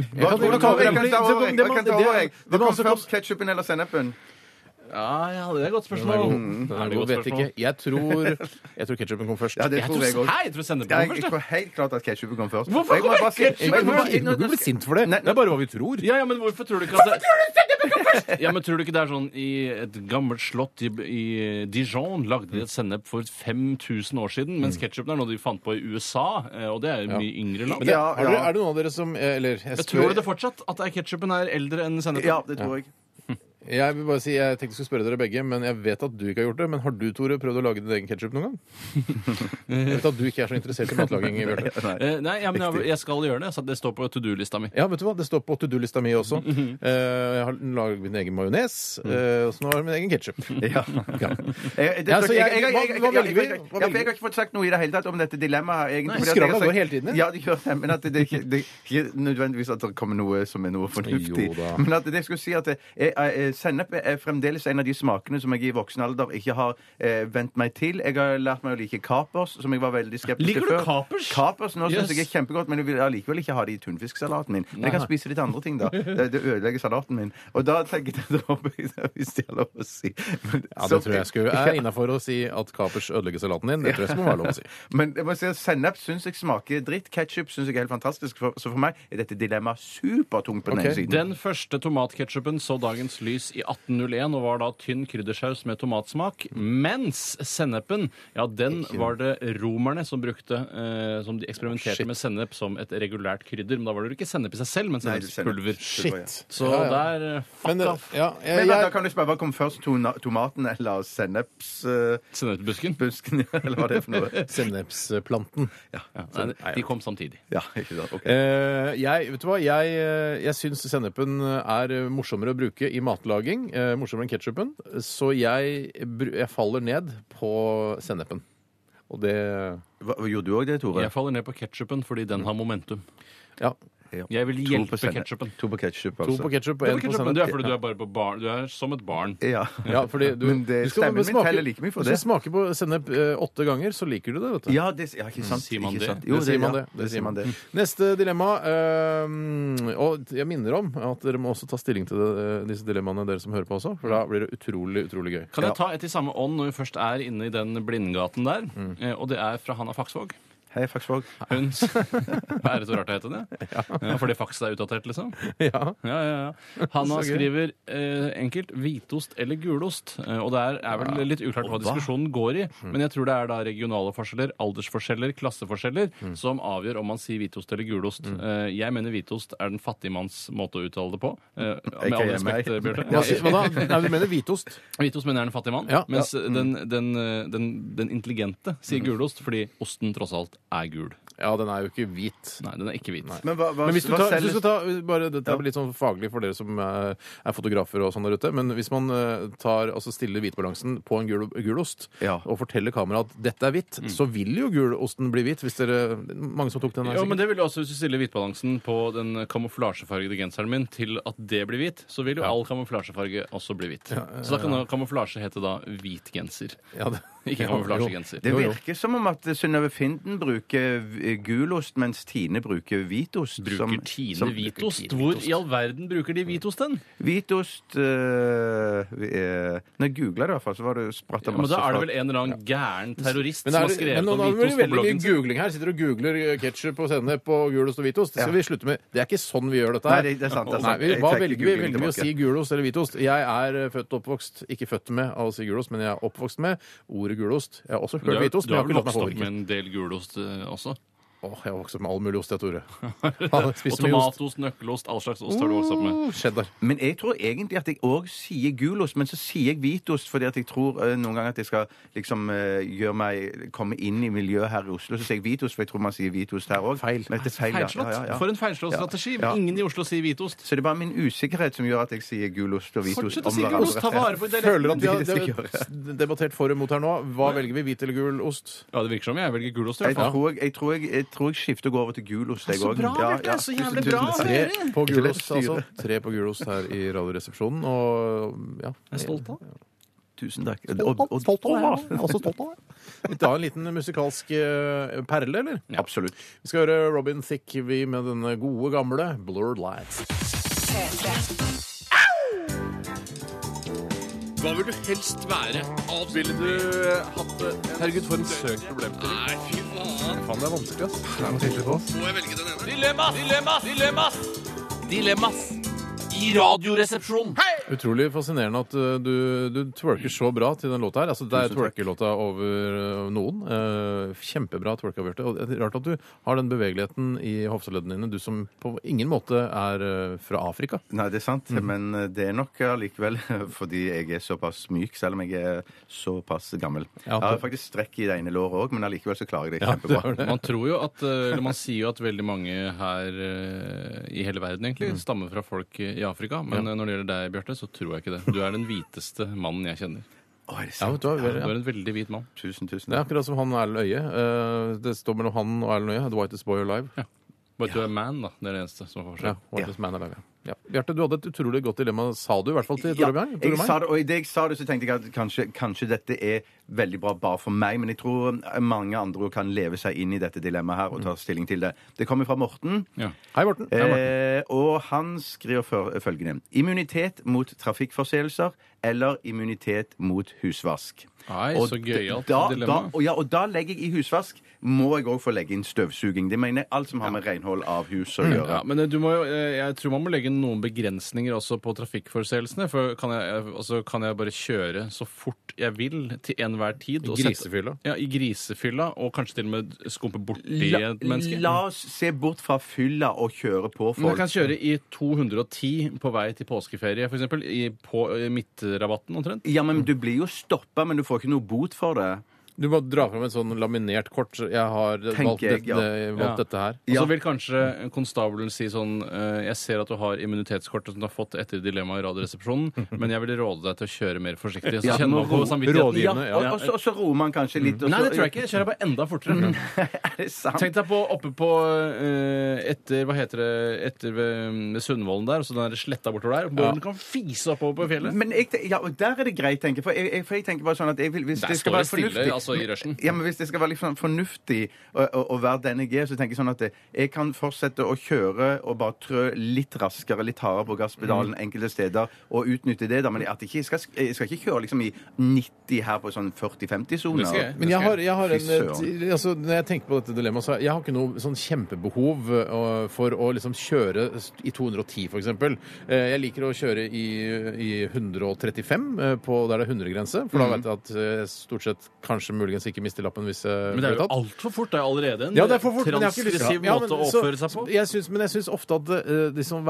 Hva- kan- Hvordan kommer jeg kan- jeg? Hva det- det- kommer det- det- det- først, ketsjupen eller sennepen? Ja, ja, det er et godt spørsmål. Mm. Det er et Jeg godt vet spørsmål. ikke. Jeg tror, jeg tror ketsjupen kom først. Ja, det tror jeg òg. Hei, jeg tror sennepen Jeg kom først. jeg. tror helt klart at ketsjupen kom først. Hvorfor Jeg må kommer bare si- ketchupen jeg må bare- først? jeg- Du blir sint for det. Nei, Det er bare hva vi tror. Ja, ja, men hvorfor tror du ikke at det... Ja, men tror du ikke det er sånn I et gammelt slott i, i Dijon lagde de et sennep for 5000 år siden, mens ketsjupen er noe de fant på i USA, eh, og det er jo mye yngre land. Men det, Ja, har dere- ja. Er det noen av dere som eh, Eller jeg, jeg spør, tror det fortsatt at ketsjupen er eldre enn sennepen. Ja, det tror jeg. jeg vil bare si Jeg tenkte jeg skulle spørre dere begge, men jeg vet at du ikke har gjort det. Men har du, Tore, prøvd å lage din egen ketsjup noen gang? Jeg vet at du ikke er så interessert i matlaging, Bjarte. Eh, nei, ja, men jeg, jeg skal gjøre det. Så det står på to do-lista mi. Ja, vet du hva? Det står på to do-lista mi også. Eh, jeg har laget min egen majones, eh, og så nå har jeg min egen ketsjup. Ja. Jeg- det- Ja, så jeg- jeg- jeg- hva- hva jeg- jeg- jeg- velger vi? jeg- Hva ja, for Jeg velger har ikke fått sagt noe i det hele tatt om dette dilemmaet. her, egentlig, Nei, fordi at skravla jeg har sagt- går hele tiden, ja. Ja, det gjør det. Men at det, ikke- det, ikke nødvendigvis at det kommer noe som er noe fornuftig. Jo da. Men at det jeg skulle si at det er- er- er- sennep er fremdeles en av de smakene som jeg i voksen alder ikke har eh, vent meg til. Jeg har lært meg å like kapers, som jeg var veldig skeptisk til Liker før. du kapers? Kapers nå synes Yes. jeg er kjempegodt, men jeg vil allikevel ikke ha det i tunfisksalaten min. Men jeg kan spise litt andre ting, da. Det, det ødelegger salaten min. Og da tenker jeg da håper jeg- hvis det er lov å si. Men- Ja, det som- tror jeg skulle, er innafor å si at kapers ødelegger salaten din. Det tror jeg skulle være lov å si. Men jeg må si at sennep syns jeg smaker dritt. Ketsjup syns jeg er helt fantastisk. For, så for meg er dette dilemmaet supertungt på den Ok. ene siden. Den første tomatketchupen så dagens lys i 1801 og var da tynn kryddersaus med tomatsmak. Mens sennepen, ja, den var det romerne som brukte eh, Som de eksperimenterte Shit. med sennep som et regulært krydder. Men da var det jo ikke sennep i seg selv, men Nei, det er sennepspulver. Shit. Så Ja, ja. der eh, Fuck Men, eh, off. ja, jeg, Men da, da jeg, kan du spørre hva kom først, tona- tomaten eller sennepsbusken? Sennepbusken. eller hva det er for noe? Sennepsplanten. Ja, nei, de kom samtidig. Ja, ikke sant. ok. Eh, jeg, vet du hva? Jeg, eh, jeg syns sennepen er eh, morsommere å bruke i matlaging. Eh, morsommere enn ketsjupen. Så jeg, bru- jeg faller ned på sennepen. Og det Hva, gjorde du òg det, Tore? Jeg faller ned på ketsjupen fordi den har momentum. Ja. Jeg vil To på hjelpe sennep. ketsjupen. To på ketsjup, To altså. på ketsjup og Du én på sennep. er fordi du er bare på barn. Du er som et barn. Ja. Ja, fordi du, Men det- du skal stemmen min smake- teller like mye for du skal det. smake på sennep eh, åtte ganger, så liker du det. vet du. Ja, det, ja, ikke sant. Sier man ikke det? sant. Det Mm. sier man ja, Mm. det. Det sier man det. Neste dilemma. eh, og jeg minner om at dere må også ta stilling til det, eh, disse dilemmaene, dere som hører på også. For da blir det utrolig, utrolig gøy. Kan jeg ta et i samme ånd når vi først er inne i den blindgaten der? Eh, Og det er fra Hanna Faksvåg. Hei, Faksvåg. Hun s- Hva er det så rart det heter det? Ja, fordi faks er utdatert, liksom? Ja. Ja, ja, ja. Hanna Så gøy. skriver eh, enkelt 'hvitost eller gulost'. Eh, og det er, er vel litt uklart hva diskusjonen går i, Mm. men jeg tror det er da regionale forskjeller, aldersforskjeller, klasseforskjeller Mm. som avgjør om man sier hvitost eller gulost. Eh, jeg mener hvitost er den fattige manns måte å uttale det på. Mm. Eh, med all jeg respekt, eh, meg. Hva, Bjarte. sy- hva da? Nei, du mener hvitost? Hvitost mener er en fattig mann, Ja. Mm. mens Den, den, eh, den, den intelligente sier gulost fordi osten tross alt er gul. Ja, den er jo ikke hvit. Nei, den er ikke hvit. Men hva, hva, Men hvis du, hva tar, hvis selges- du skal ta uh, bare, Dette blir litt sånn faglig for dere som er, er fotografer og sånn der ute. Men hvis man uh, tar, altså stiller hvitbalansen på en gul, gul ost Ja. Mm. og forteller kameraet at dette er hvitt, så vil jo gulosten bli hvit. Hvis dere, mange som tok den her. Ja, men sikkert. det vil jo også, Hvis du stiller hvitbalansen på den kamuflasjefargede genseren min til at det blir hvit, så vil jo all kamuflasjefarge også bli hvit. Så da kan da kamuflasje hete da hvit genser. Ja, det- Ikke Ja, jo. kamuflasjegenser. Det Jo, jo. virker som om at Synnøve Finden bruker v- gulost, mens Tine bruker hvitost. Bruker som, Tine som- hvitost? Hvor i all verden bruker de hvitost den? Hvitost eh, øh, vi- øh, Når jeg googla det, i hvert fall, så var det spratt av Ja, men masse da er fra- det vel en eller annen gæren terrorist Men som det har er, men skrevet nå, om nå blir hvitost det på veldig bloggen mye sin? googling her. Sitter og googler ketsjup og sennep og gulost og hvitost. Det skal Ja. vi slutte med. Det er ikke sånn vi gjør dette. her. Nei, det- det er sant, det er Nei, sant. vi, Jeg hva trekker velger vi? googlingen Velger vi å tilbake. si gulost eller hvitost? Jeg er eh, født og oppvokst, ikke født med av å si gulost, men jeg er oppvokst med ordet gulost. Jeg har også Du hørt har- hvitost, du men jeg har har ikke vel latt meg vokst opp med påvirke. en del gulost eh, også? Åh, jeg har vokst opp med all mulig ost, jeg, Tore. Han Og spiser mye ost. tomatost, nøkkelost, all slags ost har du vokst opp med. Uh, Cheddar. Men jeg tror egentlig at jeg òg sier gulost, men så sier jeg hvitost fordi at jeg tror øh, noen ganger at jeg skal liksom øh, gjøre meg komme inn i miljøet her i Oslo. Så sier jeg hvitost, for jeg tror man sier hvitost her òg. Feil. Feilslått. For en feilslått strategi. Ingen i Oslo sier hvitost. Så det er bare min usikkerhet som gjør at jeg sier gulost og hvitost Fortsett å si gulost, ta vare på Jeg dialekten. føler at vi har Det er det jeg de- debattert for og mot her nå. Hva velger vi? Hvit eller gul ost? Ja, det virker som jeg velger gulost. i Jeg hvert fall. tror jeg, jeg, tror jeg, jeg, tror jeg skifter og går over til gulost. jeg Så også. bra, Ja, Bjarte, ja. så Tusen, jævlig tusen bra. takk. Tre på Ikke lett gulost, å styre. altså. Tre på gulost her i Radioresepsjonen. Og ja. Jeg er stolt av det. Tusen takk. Og, og, Vi tar en liten musikalsk eh, perle, eller? absolutt. Vi skal høre Robin Thicke vi med denne gode, gamle Blurred Lights. P3. Hva vil du helst være? Ville du hatt det? Herregud, for en søk problemstilling. Nei, fy faen. Faen, det er vanskelig, ass. Må jeg velge den ene? Dilemmas! Dilemmas! Dilemmas! Dilemmas i Radioresepsjonen. Utrolig fascinerende at eh, du, du twerker så bra til den låta her. Altså, det er twerkelåta over eh, noen. Eh, kjempebra twerka, Bjarte. Og det er Rart at du har den bevegeligheten i hofteleddene dine, du som på ingen måte er eh, fra Afrika. Nei, det er sant, men eh, det er nok allikevel fordi jeg er såpass myk, selv om jeg er såpass gammel. Ja, Jeg har faktisk strekk i det ene låret òg, men allikevel så klarer jeg det kjempebra. Man tror jo at, eh, eller man sier jo at veldig mange her eh, i hele verden egentlig stammer fra folk eh, i Afrika, men eh, når det gjelder deg, Bjarte, så tror jeg ikke det. Du er den hviteste mannen jeg kjenner. Å, er det Ja, sant? vet du hva? Du Ja. er en veldig hvit mann. Tusen, tusen Det er takk. akkurat som han og Erlend Øye. Eh, det står mellom han og Erlend Øye. The Whitest Boy Alive. Bare at du er man, da. Det er det eneste som er Ja, forskjell. Whitest Man Alive. Ja. Ja. Bjarte, du hadde et utrolig godt dilemma, sa du i hvert fall til Ja, Tore Bjørn? jeg sa det, og i det jeg sa det, så tenkte jeg at kanskje, kanskje dette er veldig bra bare for meg, men jeg tror eh, mange andre kan leve seg inn i dette dilemmaet her og ta stilling til det. Det kommer fra Morten. Ja. Hei, Morten. Eh, og han skriver før- følgende Immunitet mot trafikkforseelser eller immunitet mot husvask. Nei, Og så gøyalt da, da, dilemma. og, ja, og da legger jeg i husvask må jeg òg få legge inn støvsuging. Det mener jeg alt som har med renhold av hus å gjøre. Ja, men eh, du må jo, eh, jeg tror man må legge noen begrensninger også på trafikkforseelsene. For kan jeg, eh, altså kan jeg bare kjøre så fort jeg vil til enhver tid? og sette- Grisefylla. Ja, I grisefylla, og kanskje til og med skumpe borti La, et menneske. la oss se bort fra fylla og kjøre på Men jeg folk. kan kjøre i 210 på vei til påskeferie, f.eks. På i midtrabatten omtrent. Ja, men Du blir jo stoppa, men du får ikke noe bot for det. Du må dra fram et sånn laminert kort. Jeg har valgt, jeg, ja. dette, valgt Ja. dette her. Og så vil kanskje konstabelen si sånn eh, Jeg ser at du har immunitetskortet som du har fått etter dilemmaet i Radioresepsjonen, men jeg vil råde deg til å kjøre mer forsiktig. Så Ja, må kjenner man på ro- samvittigheten. Ja, rådgivende, ja. og, og, så, og så roer man kanskje litt. Og Nei, så, det tror jeg ikke. Jeg kjører bare enda Mm. fortere. Er det sant? Tenk deg på oppe på eh, etter hva heter det, etter ved, ved Sundvolden der, og så den der sletta bortover der. Båren kan fise oppover på fjellet. Men jeg, te- ja, og der er det greit, tenker jeg. For jeg, jeg, for jeg tenker bare sånn at jeg vil, hvis Der det skal står være det stille fornuftig altså i rushen. ja, men Hvis det skal være litt sånn fornuftig å, å, å være den jeg er, så tenker jeg sånn at jeg kan fortsette å kjøre og bare trø litt raskere, litt hardere på gasspedalen Mm. enkelte steder og utnytte det, da. Men at jeg ikke jeg skal, jeg skal ikke kjøre liksom i 90 her på sånn 40-50-sone. Det skal jeg. Men jeg har, jeg har en, Fy søren. et- altså, når jeg tenker på dette dilemmaet, så jeg har ikke noe sånn kjempebehov eh, for å liksom kjøre st- i 210 f.eks. Jeg liker å kjøre i, Mm. i 135 eh, på, der det er 100-grense, for da vet jeg at eh, jeg eh, stort sett kanskje muligens ikke mister lappen hvis jeg Men det er blir jo tatt. altfor fort. Det er jo allerede en Ja, det er for fort, men jeg har ikke lyst til transgressiv det. Ja, måte men å så- oppføre seg på. Jeg syns, men jeg syns ofte at eh, de sånn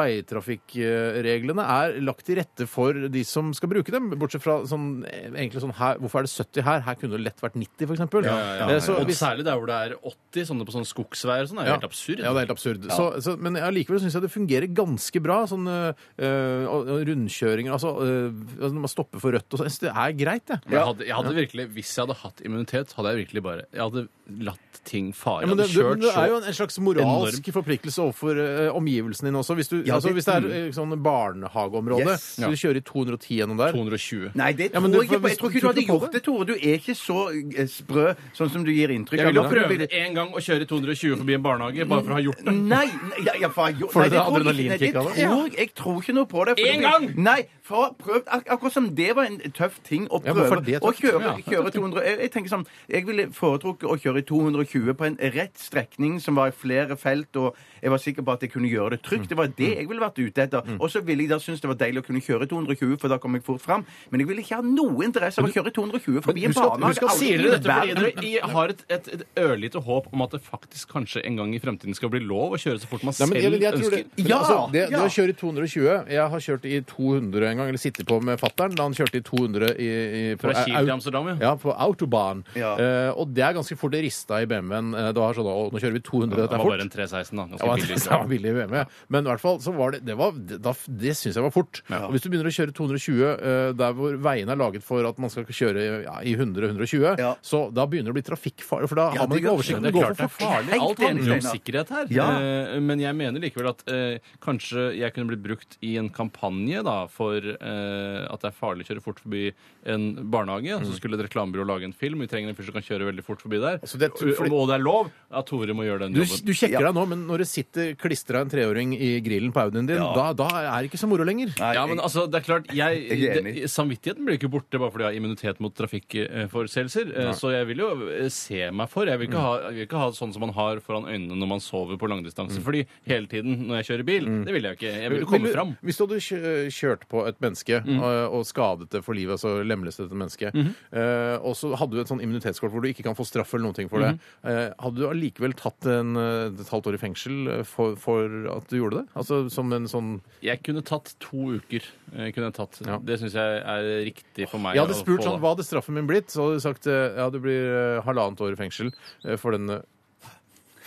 veitrafikkreglene er lagt til rette for de som skal bruke dem. Bortsett fra sånn, eh, egentlig sånn her, Hvorfor er det 70 her? Her kunne det lett vært 90, for eksempel. Eh, så Og hvis- særlig der hvor det er 80, sånne på sånne skogsveier og sånn, er jo ja. helt absurd. Ja, det er helt absurd. Så, så, men allikevel syns jeg det fungerer ganske bra. Sånn eh, eh, og- og rundkjøringer altså, eh, altså Når man stopper for rødt og sånn. Jeg synes Det er greit, det. Men Jeg hadde, jeg hadde virkelig, Hvis jeg hadde hatt immunitet, hadde jeg virkelig bare Jeg hadde latt ting Ja, fare. Jeg men hadde det, det, men kjørt det så er jo en, en slags moralsk forpliktelse overfor eh, omgivelsene dine også. Hvis, du, Ja, altså, det- hvis det er eh, sånn barnehageområde, Yes. skal du kjøre i 210 gjennom der. 220. Nei, det Ja, tror men du- jeg ikke på. Jeg tror ikke du hadde tror ikke på gjort det, Tore. Du er ikke så eh, sprø sånn som du gir inntrykk Jeg ville Du prøvd ville- en gang å kjøre i 220 forbi en barnehage bare for å ha gjort det. Nei! nei, Ja, ja, faen, jo, Får nei, du det det tror jeg ikke. Nei, adrenalinkick det av tror det? jeg Jeg tror ikke noe på det. for En det- gang! Nei, for prøv, ak akkurat som det var en tøff ting å Ja, prøve. hvorfor det er å tøft? kjøre, kjøre 200 jeg, jeg tenker sånn, jeg ville foretrukket å kjøre i 220 på en rett strekning som var i flere felt, og jeg var sikker på at jeg kunne gjøre det trygt. Det Mm. var det jeg ville vært ute etter. Og så ville jeg da synes det var deilig å kunne kjøre i 220, for da kom jeg fort fram. Men jeg ville ikke ha noe interesse av å kjøre i 220 forbi en husk at- barnehage. husk at Aldri Sier i dere dette fordi verden. dere i- har et, et, et ørlite håp om at det faktisk kanskje en gang i fremtiden skal bli lov å kjøre så fort man Nei, selv men jeg, jeg tror det, ønsker? men Ja, altså, det, det ja. å kjøre i 220 Jeg har kjørt i 200 en gang, eller sittet på med fattern da han kjørte i 200 i, i, på, Fra Kiel au- til Amsterdam, ja. ja, på Autobahn. Ja. Eh, og det er ganske fort det rista i BMW-en. Eh, Det var sånn, å, nå kjører vi 200, Det dette er var fort. bare en 316, da. Det Ganske var, billig. det var billig i BMW. Men i hvert fall så var det Det, var- det, da- det syns jeg var fort. Og hvis du begynner å kjøre 220 eh, der hvor veiene er laget for at man skal kjøre ja, i 100-120, Ja. så da begynner det å bli trafikkfare. For da har man det ikke gjør- oversikten. Men det går for er klart det er fort. farlig. Helt Alt handler enig, om Steinar. sikkerhet her. Ja. Eh, Men jeg mener likevel at eh, kanskje jeg kunne blitt brukt i en kampanje da, for eh, at det er farlig å kjøre fort forbi en barnehage. Så Mm. skulle et reklamebyrå lage en film. Vi trenger en fyr som kan kjøre veldig fort forbi der. Altså, det er- Og- og det er lov at Tore må gjøre den Du, jobben. du sjekker deg nå, men når det sitter klistra en treåring i grillen på Audien din, da, da er det ikke så moro lenger. Nei, Ja, men altså, det er klart, jeg, Jeg er enig. det, Samvittigheten blir jo ikke borte bare fordi jeg har immunitet mot trafikkforseelser. eh, Så jeg vil jo eh, se meg for. Jeg vil Mm. ikke ha, jeg vil ikke ha sånn som man har foran øynene når man sover på langdistanse. Fordi hele tiden når jeg kjører bil, det vil jeg jo ikke. Jeg vil jo Mm. komme Mhm. Vil du- fram. Hvis du hadde kjø- kjørt på et menneske og, og skadet det for livet, altså lemlestet et menneske, Mhm. eh, og så hadde du et sånn immunitetskort hvor du ikke kan få straff eller noen ting for det, Mhm. eh, hadde du allikevel tatt en, eh, et halvt år i fengsel eh, for, for at du gjorde det? Altså som en sånn Jeg kunne tatt to uker. eh, Kunne jeg tatt. Ja. Det syns jeg er riktig for meg. Jeg hadde å spurt få, sånn, da. hva hadde straffen min blitt? Så hadde du sagt eh, ja, det blir eh, halvannet år i fengsel eh, for den eh,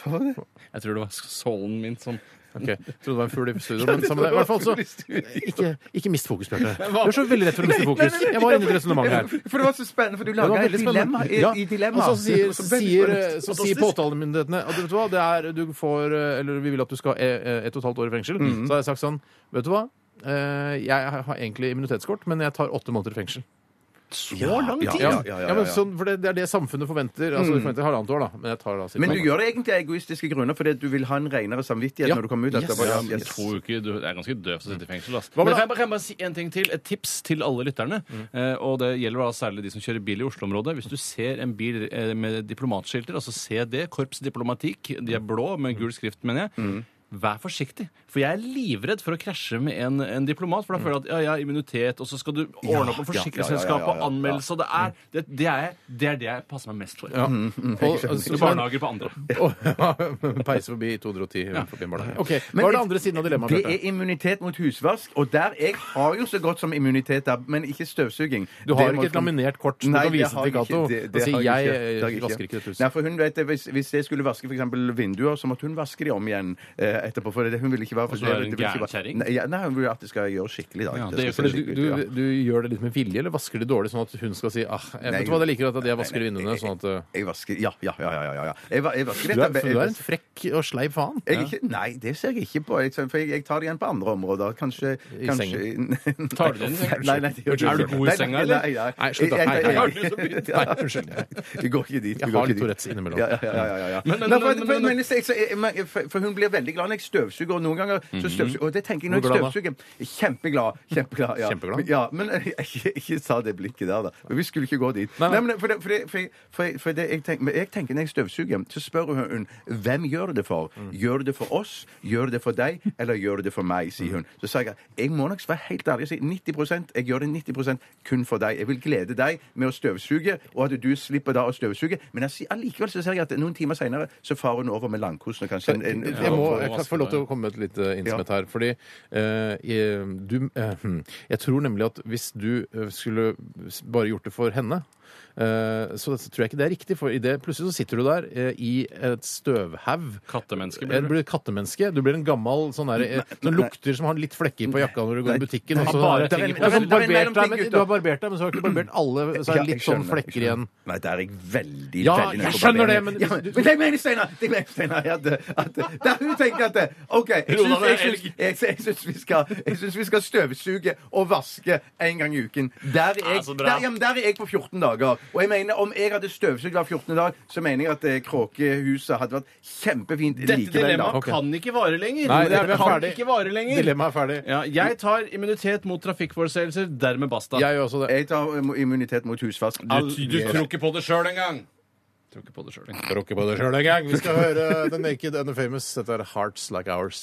Jeg tror det var sålen min som Ok, jeg trodde det var en fugl i studio, men samme det. I hvert fall så Eh, Ikke, ikke mist fokus, Bjarte. Du er så veldig lett for å miste fokus. Jeg var inne i et resonnement her. For det var så spennende, for du Det laga var et veldig dilemma spennende. i, Ja, i dilemma. Og så sier, Det var så veldig sier, eh, spennende. så sier påtalemyndighetene at vet du hva, det er, du får, eh, eller vi vil at du skal ha eh, ett og et halvt år i fengsel. Mhm. Så har jeg sagt sånn, vet du hva, eh, jeg har egentlig immunitetskort, men jeg tar åtte måneder i fengsel. Så lang tid! Ja, Ja, ja, ja, ja. Mhm. men sånn, for det, det er det samfunnet forventer. Altså, de forventer halvannet år, da. Men jeg tar da sikkert- Men du gjør det egentlig av egoistiske grunner, fordi at du vil ha en renere samvittighet Ja. når du kommer ut. Yes. etterpå. Ja, Ja, yes. To uker, du er ganske døv til å sitte i fengsel. Ass. med Mm. Men det? kan jeg, bare, kan jeg bare si en ting til? Et tips til alle lytterne. Eh, og det gjelder da særlig de som kjører bil i Oslo-området. Hvis du ser en bil eh, med diplomatskilter, altså CD, Korps Diplomatikk, de er blå med gul skrift, mener jeg. Mm. Vær forsiktig, for jeg er livredd for å krasje med en, en Mm. diplomat. For da føler jeg at ja, jeg har immunitet, og så skal du ordne opp med ja, ja, ja, forsikringsselskap ja, ja, ja. og anmeldelse. og Det, er, det, det, er jeg, det er det jeg passer meg mest for. Mm. Ja. Mm. Og, så- Ikke barnehager på andre. Å, ja, Peise forbi 210 forbi en barnehage. Ok, Men Hva er det- det andre siden av dilemmaet, Det Bjarte? er immunitet mot husvask, og der jeg har jo så godt som immunitet, der, men ikke støvsuging. Du har Det må ikke et jeg- laminert kort som du Nei, kan det vise har til jeg ikke. Cato Det- og det si har jeg jeg ikke. Det har eh, jeg vasker ikke dette huset. Nei, for hun vet det, hvis, hvis jeg skulle vaske for eksempel vinduer, så måtte hun vaske de om igjen eh, etterpå. For det, hun ville ikke være for så er hun det ville ikke gæren være- kjerring? Nei, ja, nei, hun vil at det skal gjøre skikkelig. Da. Ja, Det det skal gjør- se Du, skikkelig du, ut, ja. du gjør det litt med vilje, eller vasker det dårlig, sånn at hun skal si ah, jeg, Nei, Vet du hva, det liker jeg at jeg vasker nei, vinduene, sånn at eh, Jeg vasker Ja, ja, ja. ja, ja, ja. Jeg, va- jeg vasker du er, dette- du er en frekk og sleip faen. jeg, er ikke, Nei, det ser jeg ikke på. Jeg, for jeg, jeg tar det igjen på andre områder. Kanskje I kanskje, sengen. Nei, Tar du det igjen i sengen? Nei, nei, det gjør jeg Er du ikke. god i Nei, senga, nei, eller? Nei, nei. Nei, slutt da. Jeg- Nei, jeg- nei, Har jeg- du lyst til å bytte? Nei, unnskyld. Vi går ikke dit. vi Jeg går har ikke litt dit. Tourettes innimellom. Ja, ja, ja. ja, ja. Men- Nei, for- men- men- for- men jeg- jeg- jeg- jeg- For for hun blir veldig glad jeg støvsuger, og noen ganger så støvsuger Og det tenker jeg når Hvor glad jeg da? støvsuger Kjempeglad. Kjempeglad. Ja. Kjempeglad? Men- Ja, men jeg, ikke, ikke sa det blikket der, da. Men vi skulle ikke gå dit. Nei, Nei, nei. men for det, for det, for jeg, for jeg, for det jeg, tenker, men jeg tenker når jeg støvsuger, så spør hun, hun hvem gjør du det for. Mm. Gjør du det for oss, gjør du det for deg, eller gjør du det for meg, Mm. sier hun. Så sa jeg jeg må nok være helt ærlig og si 90 jeg gjør det 90 kun for deg. Jeg vil glede deg med å støvsuge, og at du slipper da å støvsuge. Men jeg, sier- allikevel så ser jeg at noen timer seinere så farer hun over med langkosen og kanskje en, en, eh, jeg, må, jeg kan få lov til å komme med et lite innsmett her. Fordi eh, jeg, du, eh, hm. jeg tror nemlig at hvis du eh, skulle s- bare gjort det for henne eh, så tror jeg ikke det er riktig, for i det, plutselig så sitter du der eh, i et støvhaug. Kattemenneske Eh, blir Du du. blir et kattemenneske. Du blir en gammel sånn der, eh, som lukter som har litt flekker på jakka når du går i butikken. og så- Bare Ja, ting- sånn barbert Det er deg, men en mellomting, Du har barbert deg, men så har du ikke barbert alle, så er det Ja, litt jeg sånn skjønner, flekker jeg skjønner. igjen. Nei, der er jeg veldig Ja, veldig nøye jeg på skjønner det, barbering. men- ja, men, men jeg mener, Steinar det mener, Steinar, at, at der hun tenker at det, OK, jeg Roland syns- er jeg syns- jeg syns- jeg syns vi, skal- jeg syns vi skal støvsuge og vaske en gang i uken. Der er jeg, så bra. der, ja, men der er jeg på 14 dager. Og jeg mener, om jeg hadde støvsugd hver 14. dag, så mener jeg at eh, kråkehuset hadde vært kjempefint Dette likevel. da. dilemmaet Ok. kan ikke vare lenger. Nei, det er- vi det er kan ferdig. ikke vare lenger. Dilemmaet er ferdig. Ja, jeg tar immunitet mot trafikkforseelser. Dermed basta. Jeg gjør også det. Jeg tar eh, immunitet mot husvask. ikke på det sjøl engang! Tror ikke på det sjøl engang. Jeg Tråkker på det sjøl en gang. Vi skal høre The Naked and the Famous. Dette er Hearts Like Ours.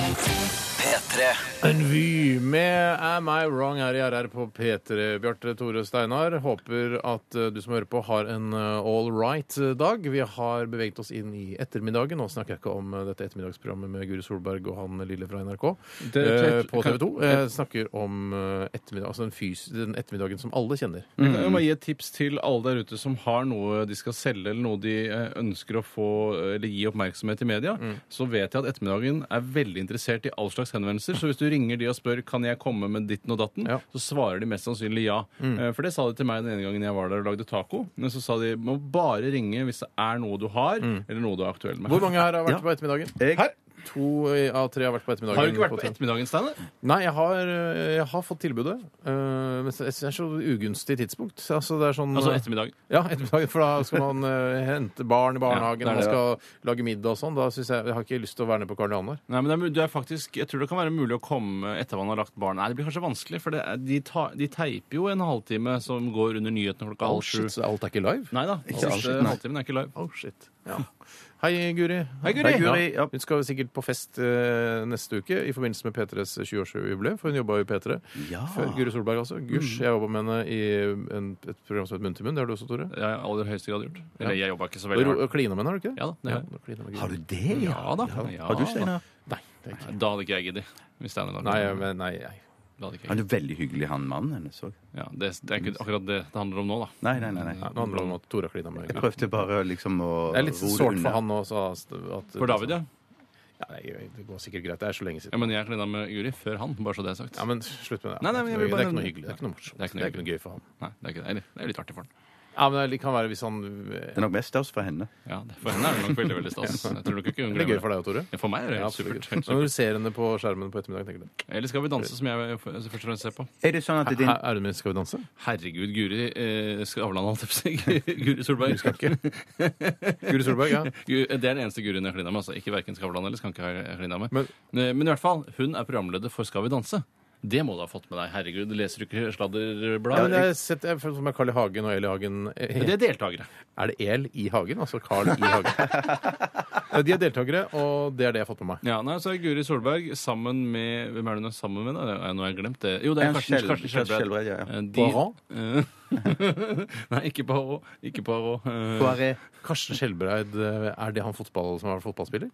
P3 En Vy med Am I Wrong her i RR på P3. Bjarte Tore Steinar, håper at eh, du som hører på, har en eh, all right eh, dag. Vi har beveget oss inn i ettermiddagen. Nå snakker jeg ikke om eh, dette ettermiddagsprogrammet med Guri Solberg og han lille fra NRK Det- eh, det- på kan- TV 2. Jeg snakker om eh, ettermiddag, altså den, fys den ettermiddagen som alle kjenner. Jeg kan jo bare gi et tips til alle der ute som har noe de skal selge, eller noe de eh, ønsker å få eh, eller gi oppmerksomhet i media. Mm. Så vet jeg at ettermiddagen er veldig interessert i all slags henvendelser. Så hvis du ringer de og spør kan jeg komme med ditten og datten, Ja. Mm. så svarer de mest sannsynlig ja. Eh, For det sa de til meg den ene gangen jeg var der og lagde taco. Men så sa de må bare ringe hvis det er noe du har, eller noe du er aktuell med. Mm. Hvor mange her har vært Ja. på ettermiddagen? Jeg- Her? To eh, av tre har vært på ettermiddagen. har du ikke vært på TV2. ettermiddagen, Steinar? Nei, jeg har, øh, jeg har fått tilbudet. øh, Men det er så ugunstig tidspunkt. Altså, det er sånn, Altså øh, ettermiddagen. Ja, ettermiddagen, for da skal man øh, hente barn i barnehagen, Ja, det er man det. skal lage middag og sånn. Da synes jeg, jeg har ikke lyst til å være nede på Karl Johan der. Nei, men det er, mu- det er faktisk, Jeg tror det kan være mulig å komme etter man har lagt barn. Nei, det blir kanskje vanskelig, for det er, de, ta, de teiper jo en halvtime som går under nyhetene klokka halv sju. så alt er ikke live? Nei da. Ikke all Siste shit, nei. halvtimen er ikke live. Oh, shit. Ja. Hei, Guri. Hei, Guri. Hei, Guri, ja. Hun skal sikkert på fest øh, neste uke i forbindelse med P3s 20-årsjubileum, for hun jobba i P3 Ja. før Guri Solberg, altså. Mm. Gusj. Jeg jobba med henne i en, et program som het Munn til munn. Det har du også, Tore? Det har jeg i aller høyeste grad gjort. Eller jeg jobba ikke så Og veldig ro- hardt. Klina med henne, har du ikke det? Ja da, det har jeg. du klinet med Guri. Har du det, ja? Ja da. Ja, Har du, da. Steinar? Nei, det er ikke. Da hadde ikke jeg giddet. Hvis Steinar lagde Nei, det. men- nei, nei. Da hadde ikke jeg Han giddet. er veldig hyggelig, han mannen hennes òg. Ja, det, det er ikke akkurat det det handler om nå, da. Nei, nei, nei. nei. Nei, Nå handler det om at Tore klina med Jeg Guri. prøvde bare liksom å Det er litt roe sårt unna. for han også. altså, At, For David, ja. ja. nei, Det går sikkert greit. Det er så lenge ja siden. men jeg klina med Guri før han, bare så det er sagt. Ja, men slutt med det. Nei, nei, det, er men jeg ikke vil noe, det er bare- ikke noe hyggelig. Det er ikke noe morsomt. Det er ikke noe gøy for han. Nei, det er ikke det. Eller, det er jo litt artig for han. Ja, men det kan være hvis han Det er nok mest stas for henne. Ja, det- For henne er det nok veldig veldig stas. Jeg tror nok ikke hun Det er gøy glemmer for deg òg, Tore. Ja, For meg er det Ja, helt absolutt. supert. Helt supert. Når du ser henne på skjermen på ettermiddagen, tenker du Eller skal vi danse, som jeg eh, f- først og fremst ser på. Er det sånn at din "Hæ, Er du med? Skal vi danse? Herregud, Guri eh, Skavlan, holdt jeg på å si. Guri Solberg. Guri Solberg, ja. Gu- Det er den eneste guruen jeg har klina med. Altså. Ikke hverken Skavlan eller Skanke har jeg klina med. Men- Men, Men i hvert fall, hun er programleder for Skal vi danse. Det må du ha fått med deg. Herregud, leser du ikke ja men sladderblad? jeg har sett jeg føler meg Carl I. Hagen og Eli Hagen. det er deltakere. Er det El i Hagen? Altså Carl I. Hagen. De er deltakere, og det er det jeg har fått med meg. Ja, nei, så er Guri Solberg sammen med Hvem er det hun er sammen med? da? Ja, Nå har jeg glemt det. Jo, det er Ja, Karsten, Skjel- Karsten Karsten Skjelbred. Skjelbred, ja, ja. Eh, de- Eh, Poirot? Nei, ikke Poirot. Ikke Poirot. Eh, Poiré? Karsten Skjelbreid, eh, er det han fotball som har vært fotballspiller?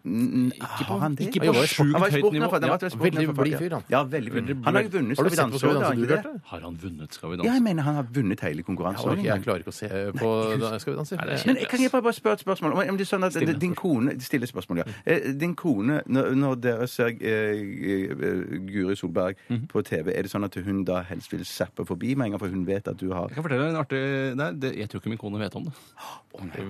Har han det? Ikke Jeg på var i sjukt Han var i høyt sporten for nivå. det. Ja. Han var i sporten veldig for- blid fyr, han. Ja, veldig blid. Han har jo vunnet Har Skal du vi sett på danse Skal vi også, har danse, han du, ikke det? Bjarte? Har han vunnet Skal vi Ja, danse? jeg mener han har vunnet hele konkurransen. Jeg, jeg klarer ikke å se på da Skal vi danse. Men jeg kan jeg bare bare spørre et spørsmål? Om- Om det er sånn at Stille din kone Stille spørsmål, ja. Eh, Din kone, når, når dere ser eh, eh, Guri Solberg Mhm. på TV, er det sånn at hun da helst vil zappe forbi med en gang, for hun vet at du har Jeg kan fortelle deg en artig Nei, det, jeg tror ikke min kone vet om det.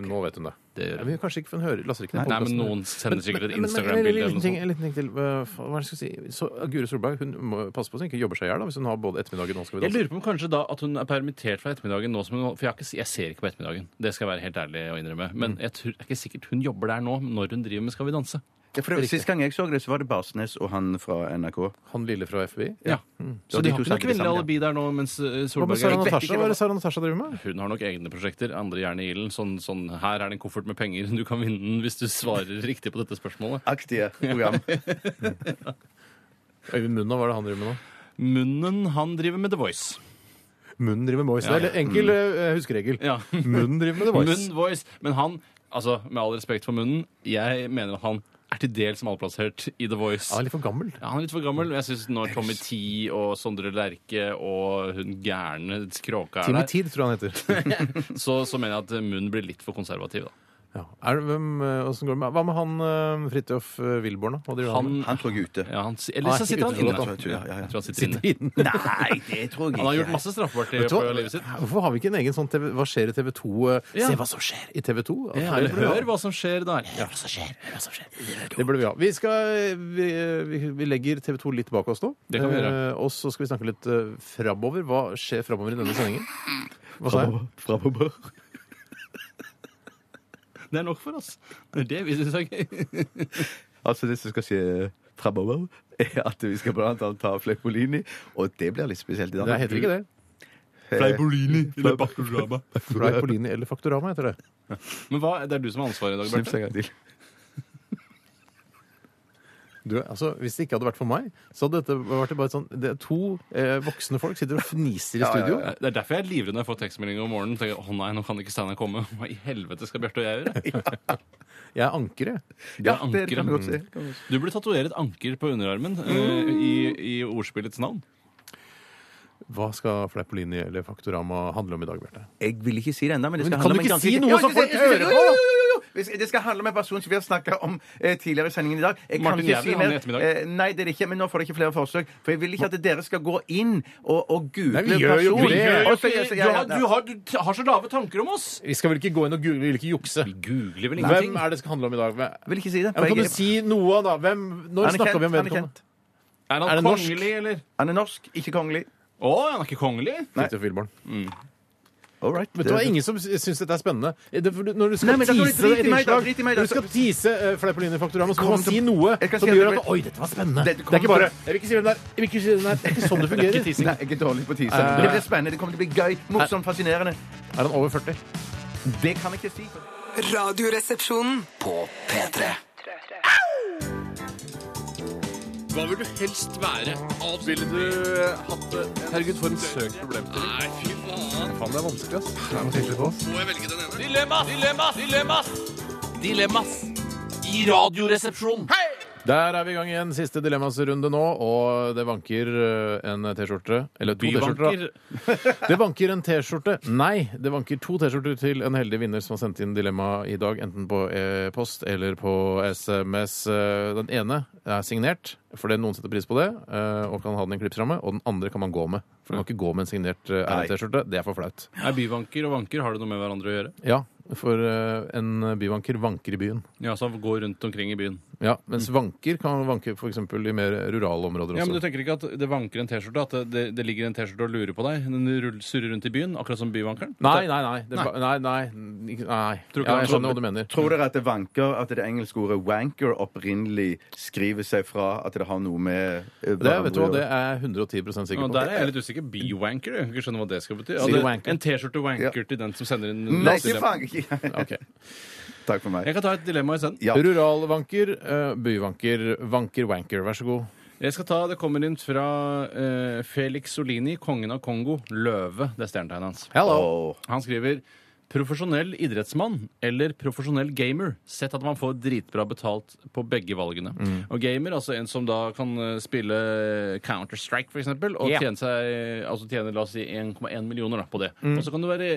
Nå vet hun det. Det gjør Ja, men kanskje ikke, for hun hører, laster ikke den Nei, men podcasten. noen sender sikkert et Men- men- Instagram-bilde en eller liten noe ting- sånt. En liten ting til. øh, faen, Hva skal jeg si? Så, uh, Guri Solberg hun må passe på så hun ikke jobber seg i hjel da, hvis hun har både ettermiddagen og Skal vi Jeg danse. lurer på om kanskje da at hun er permittert fra ettermiddagen nå som hun For jeg, har ikke, jeg ser ikke på ettermiddagen. Det skal jeg være helt ærlig å innrømme. Men jeg tror, det er ikke sikkert hun jobber der nå når hun driver med Skal vi danse. Ja, for det, var- Sist gang jeg så det, så var det Barsnes og han fra NRK. Han lille fra FBI. Ja. Så de de to har ikke noe snakker kvinnelig sammen, ja. alibi der nå mens eh, Hva med Solberg Sarah er Natasha? Hva er det Sarah Natasha driver med? Hun har nok egne prosjekter, andre gjerne i ilden. Sånn, sånn, her er det en koffert med penger, du kan vinne den hvis du svarer riktig på dette spørsmålet. Aktige program. Øyvind Munna, hva er det han driver med nå? Munnen han driver med The Voice. Munnen driver med Voice. Det er en enkel eh, huskeregel. Ja. Munnen driver med The Voice. Munn Voice. Men han, altså med all respekt for munnen, jeg mener at han er til dels malplassert i The Voice. Ja, litt for gammel. Ja, han er litt for gammel. Jeg syns når Tommy T og Sondre Lerche og hun gærne Skråka er Timmy der, Tid, tror jeg han heter. så, så mener jeg at eh, munnen blir litt for konservativ, da. Ja. Er, det- hvem, eh, hvordan går det med? Hva med han eh, Fridtjof eh, Wilborn, da? Hva driver han med? Han, Han tror jeg er ute. ja, han, eller Han er så sitter han ikke utenfor, da. inne. Jeg tror Ja, ja, ja. han sitter inne. Siden. Nei, det tror jeg ikke. Han har gjort masse straffbart i Vet du på hva? livet sitt. Hvorfor har vi ikke en egen sånn TV, Hva skjer i TV 2? eh, Ja. Se hva som skjer i TV 2! Ja, eller hør hva som skjer der. Hør hva som skjer, hør hva som skjer. Det burde vi ha. Vi, skal, vi, vi, vi legger TV 2 litt bak oss nå. Det kan vi gjøre. Eh, og så skal vi snakke litt eh, framover. Hva skjer framover i denne sendingen? Hva sa jeg? Framover. Det er nok for oss. Det er det vi syns er gøy. Altså, det som skal skje framover, er at vi skal blant annet ta Fleipolini, og det blir litt spesielt i dag. Det heter ikke det. Fleipolini. Fry på linje eller Faktorama heter det. Men hva, det er du som har ansvaret i dag, Snips Bjarte. en gang til. Du, altså, hvis det ikke hadde vært for meg, så hadde dette vært bare et sånn det er To eh, voksne folk sitter og fniser i studio. Eh, Det er derfor jeg er livredd når jeg får tekstmeldinger om morgenen. Tenker, jeg, å nei, nå kan ikke Steinar komme. Hva i helvete skal Bjarte og jeg gjøre? Jeg er ankeret. Det Ja, er det kan vi godt si. ankeret. Du burde tatovere et anker på underarmen eh, i, i ordspillets navn. Hva skal Fleipolini eller Faktorama handle om i dag, Bjarte? Jeg vil ikke si det ennå, men det Men skal kan du handle om en ikke ganske si noe Jo, som jo, folk jo, jo, hører på? jo, jo, jo, jo, jo. Hvis- Det skal handle om en person som vi har snakka om eh, tidligere i sendingen i dag. Jeg kan Martin ikke Jævlig, si han mer. i ettermiddag. Eh, nei, det er det ikke, men nå får dere ikke flere forsøk. For jeg vil ikke at dere skal gå inn og, og google Nei, vi gjør jo personen. ikke det. Og så- ja, ja, ja. så lave tanker om oss! Vi skal vel ikke gå inn og google, vi vil ikke jukse. Vi googler vel Hvem ingenting. er det skal handle om i dag? Hvem- Jeg vil ikke si det. Ja, for men kan jeg- du si noe, da? Hvem, Han når er snakka vi kjent, om han er kjent. vedkommende? Er Er han det norsk? kongelig, eller? Han er norsk, ikke kongelig. Å, han er ikke kongelig? Fridtjof Wilborn. All right. Vet du hva, Ingen som sy- syns dette er spennende. Eh, Det, er for du- når du skal Nei, men da skal du tease drite et i meg, da, innslag, drite i meg, da. når du skal tease uh, Fleipolini-faktorama, så må Kom man til- si noe Jeg kan som si at gjør det at Oi, dette var spennende. Det Det- er det ikke kommer bare til- Jeg vil ikke si hvem det er. Jeg vil ikke si hvem det er. Det er ikke sånn det fungerer. ikke Nei, jeg er dårlig på teasing. Det blir spennende. Det kommer til å bli gøy, morsomt, fascinerende. Er han over 40? Det kan jeg ikke si. Radioresepsjonen. På P3 Hva vil du helst være? Ville du hatt det? Herregud, for en søk problemstilling. Nei, fy faen. Faen, det er vanskelig, ass. Må jeg velge den ene? Dilemmas! Dilemmas! Dilemmas! Dilemmas i Radioresepsjonen. Der er vi i gang igjen. Siste dilemmasrunde nå, og det vanker eh, en T-skjorte. Eller to T-skjorter, Byvanker. da. Det vanker en T-skjorte. Nei, det vanker to T-skjorter til en heldig vinner som har sendt inn dilemma i dag, enten på e-post eller på SMS. Eh, Den ene er signert, fordi noen setter pris på det, eh, og kan ha den i en klipsramme. Og den andre kan man gå med. For man kan ikke gå med en signert eh, RR-T-skjorte. Det er for flaut. Er byvanker og vanker har det noe med hverandre å gjøre? Ja, for eh, en byvanker vanker i byen. Ja, så han går rundt omkring i byen. Ja, Mens vanker kan vanke f.eks. i mer rurale områder også. Ja, men Du tenker ikke at det vanker en T-skjorte? At det- det, det ligger en T-skjorte og lurer på deg? Den rull- surrer rundt i byen, akkurat som byvankeren? Nei, nei, nei. Det, ba- nei, nei, nei. Tror ikke Ja, han jeg skjønner hva du mener. Tror dere at det vanker, at det engelske ordet wanker opprinnelig skriver seg fra at det har noe med eh, Det, vet du hva, hverandre å det gjøre? er jeg 110 sikker Og på. der er jeg litt usikker. Bywanker? Jeg kan ikke skjønne hva det skal bety. Sier Ja, wanker. det, en T-skjorte-wanker til den som sender inn Nei, ikke dilemma. faen ikke. Ok. Takk for meg. Jeg kan ta et dilemma isteden. Ja. Ruralvanker, eh, byvanker, vanker, wanker. Vær så god. Jeg skal ta, Det kommer inn fra eh, Felix Solini, kongen av Kongo. Løve. Det er stjernetegnet hans. Hello. Åh. Han skriver Profesjonell idrettsmann eller profesjonell gamer? Sett at man får dritbra betalt på begge valgene. Og gamer, altså en som da kan eh, spille Counter-Strike, f.eks., og Yeah. tjene seg, altså tjene la oss si 1,1 millioner da, på det. Og så kan du være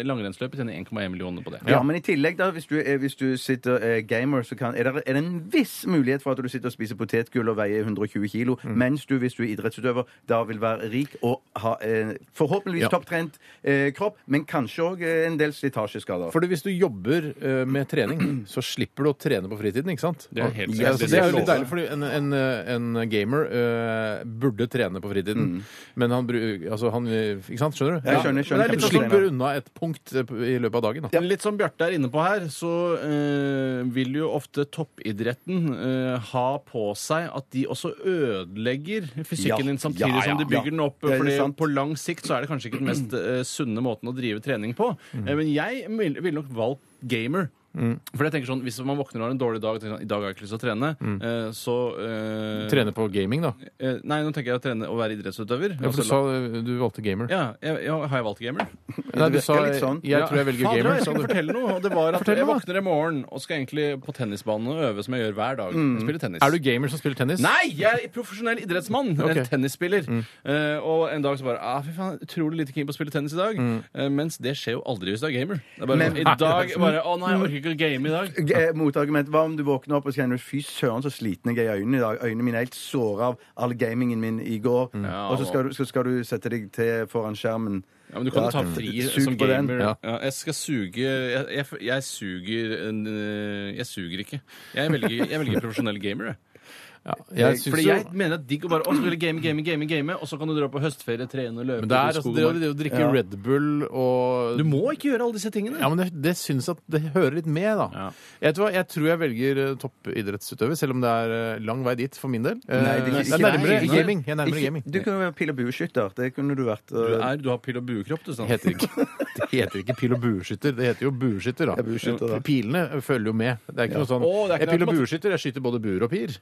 eh, langrennsløper og tjene 1,1 millioner på det. Ja, men i tillegg, da, hvis du, er, hvis du sitter eh, gamer, så kan, er, det, er det en viss mulighet for at du sitter og spiser potetgull og veier 120 kilo, mens du, hvis du er idrettsutøver, da vil være rik og ha eh, forhåpentligvis Ja. topptrent eh, kropp, men kanskje òg eh, en del del slitasjeskader. Fordi hvis du jobber eh, med trening, så slipper du å trene på fritiden, ikke sant? Det er helt ja, sikkert. så det er jo litt deilig, fordi en, en, en gamer eh, burde trene på fritiden, men han bruker altså han, Ikke sant? Skjønner du? Jeg skjønner, Men det skjønner. er litt sånn, slipper unna et punkt eh, i løpet av dagen. Da. Men Litt som Bjarte er inne på her, så eh, vil jo ofte toppidretten eh, ha på seg at de også ødelegger fysikken Ja, din samtidig ja, ja, som de bygger ja. den opp. Det er Fordi sant. på lang sikt så er det kanskje ikke den mest eh, sunne måten å drive trening på. Mm. Eh, men jeg vil- ville nok valgt gamer. For jeg tenker sånn, Hvis man våkner og har en dårlig dag og tenker sånn, i dag har jeg ikke lyst til å trene, Mm. eh, så eh, Trene på gaming, da. eh, Nei, nå tenker jeg å trene å være idrettsutøver. Ja, for Altså, du sa eh, du valgte gamer. ja, jeg, jeg, har jeg valgt gamer? Nei, du virker sa litt sånn. jeg tror jeg velger Fader, gamer. jeg Sa skulle du. fortelle noe, og det var at Fortell jeg meg, da. våkner i morgen og skal egentlig på tennisbanen og øve som jeg gjør hver dag. Jeg spiller tennis. Er du gamer som spiller tennis? Nei, jeg er profesjonell idrettsmann. Jeg er Ok. Tennisspiller. Eh, og en dag så bare ah, fy faen, utrolig lite keen på å spille tennis i dag. Eh, mens det skjer jo aldri hvis du er gamer. Det er bare, sånn, Men- I dag bare Å nei, jeg orker ikke å game i dag. G- eh, Motargument. Hva om du våkner opp og kjenner du, fy søren så sliten jeg er i øynene i dag. Øynene mine er helt såra av all gamingen min i går. Og så skal, du, så skal du sette deg til foran skjermen. Ja, men du kan jo ta Ja, fri sug som på den. gamer. Ja. Ja. jeg skal suge Jeg, jeg, jeg suger eh, Jeg suger ikke. Jeg velger, jeg velger profesjonell gamer, jeg. Ja, jeg syns Fordi jo jeg mener at digg å bare å, skal du game, game, game, game, og så kan du dra på høstferie, trene, løpe Men det ut i er altså, skog det, og å- mark. det å drikke Red Bull og Du må ikke gjøre alle disse tingene. Ja, men det, det syns at det hører litt med, da. Ja. Jeg, tror, jeg tror jeg velger eh, toppidrettsutøver, selv om det er eh, lang vei dit for min del. Eh, Nei, det er ikke- jeg er nærmere ikke- gaming. Jeg er nærmere gaming. Du kunne være pil- og bueskytter. Det kunne du vært. Du, eh, er, du har pill- og buekropp, du. Det Sant? heter ikke, det heter ikke pil- og bueskytter. Det heter jo bueskytter, da. Ja, bueskytter, da. Pilene følger jo med. Det er ikke noe sånn Å, det er ikke Jeg er pil- og automat- bueskytter. Jeg skyter både buer og pir.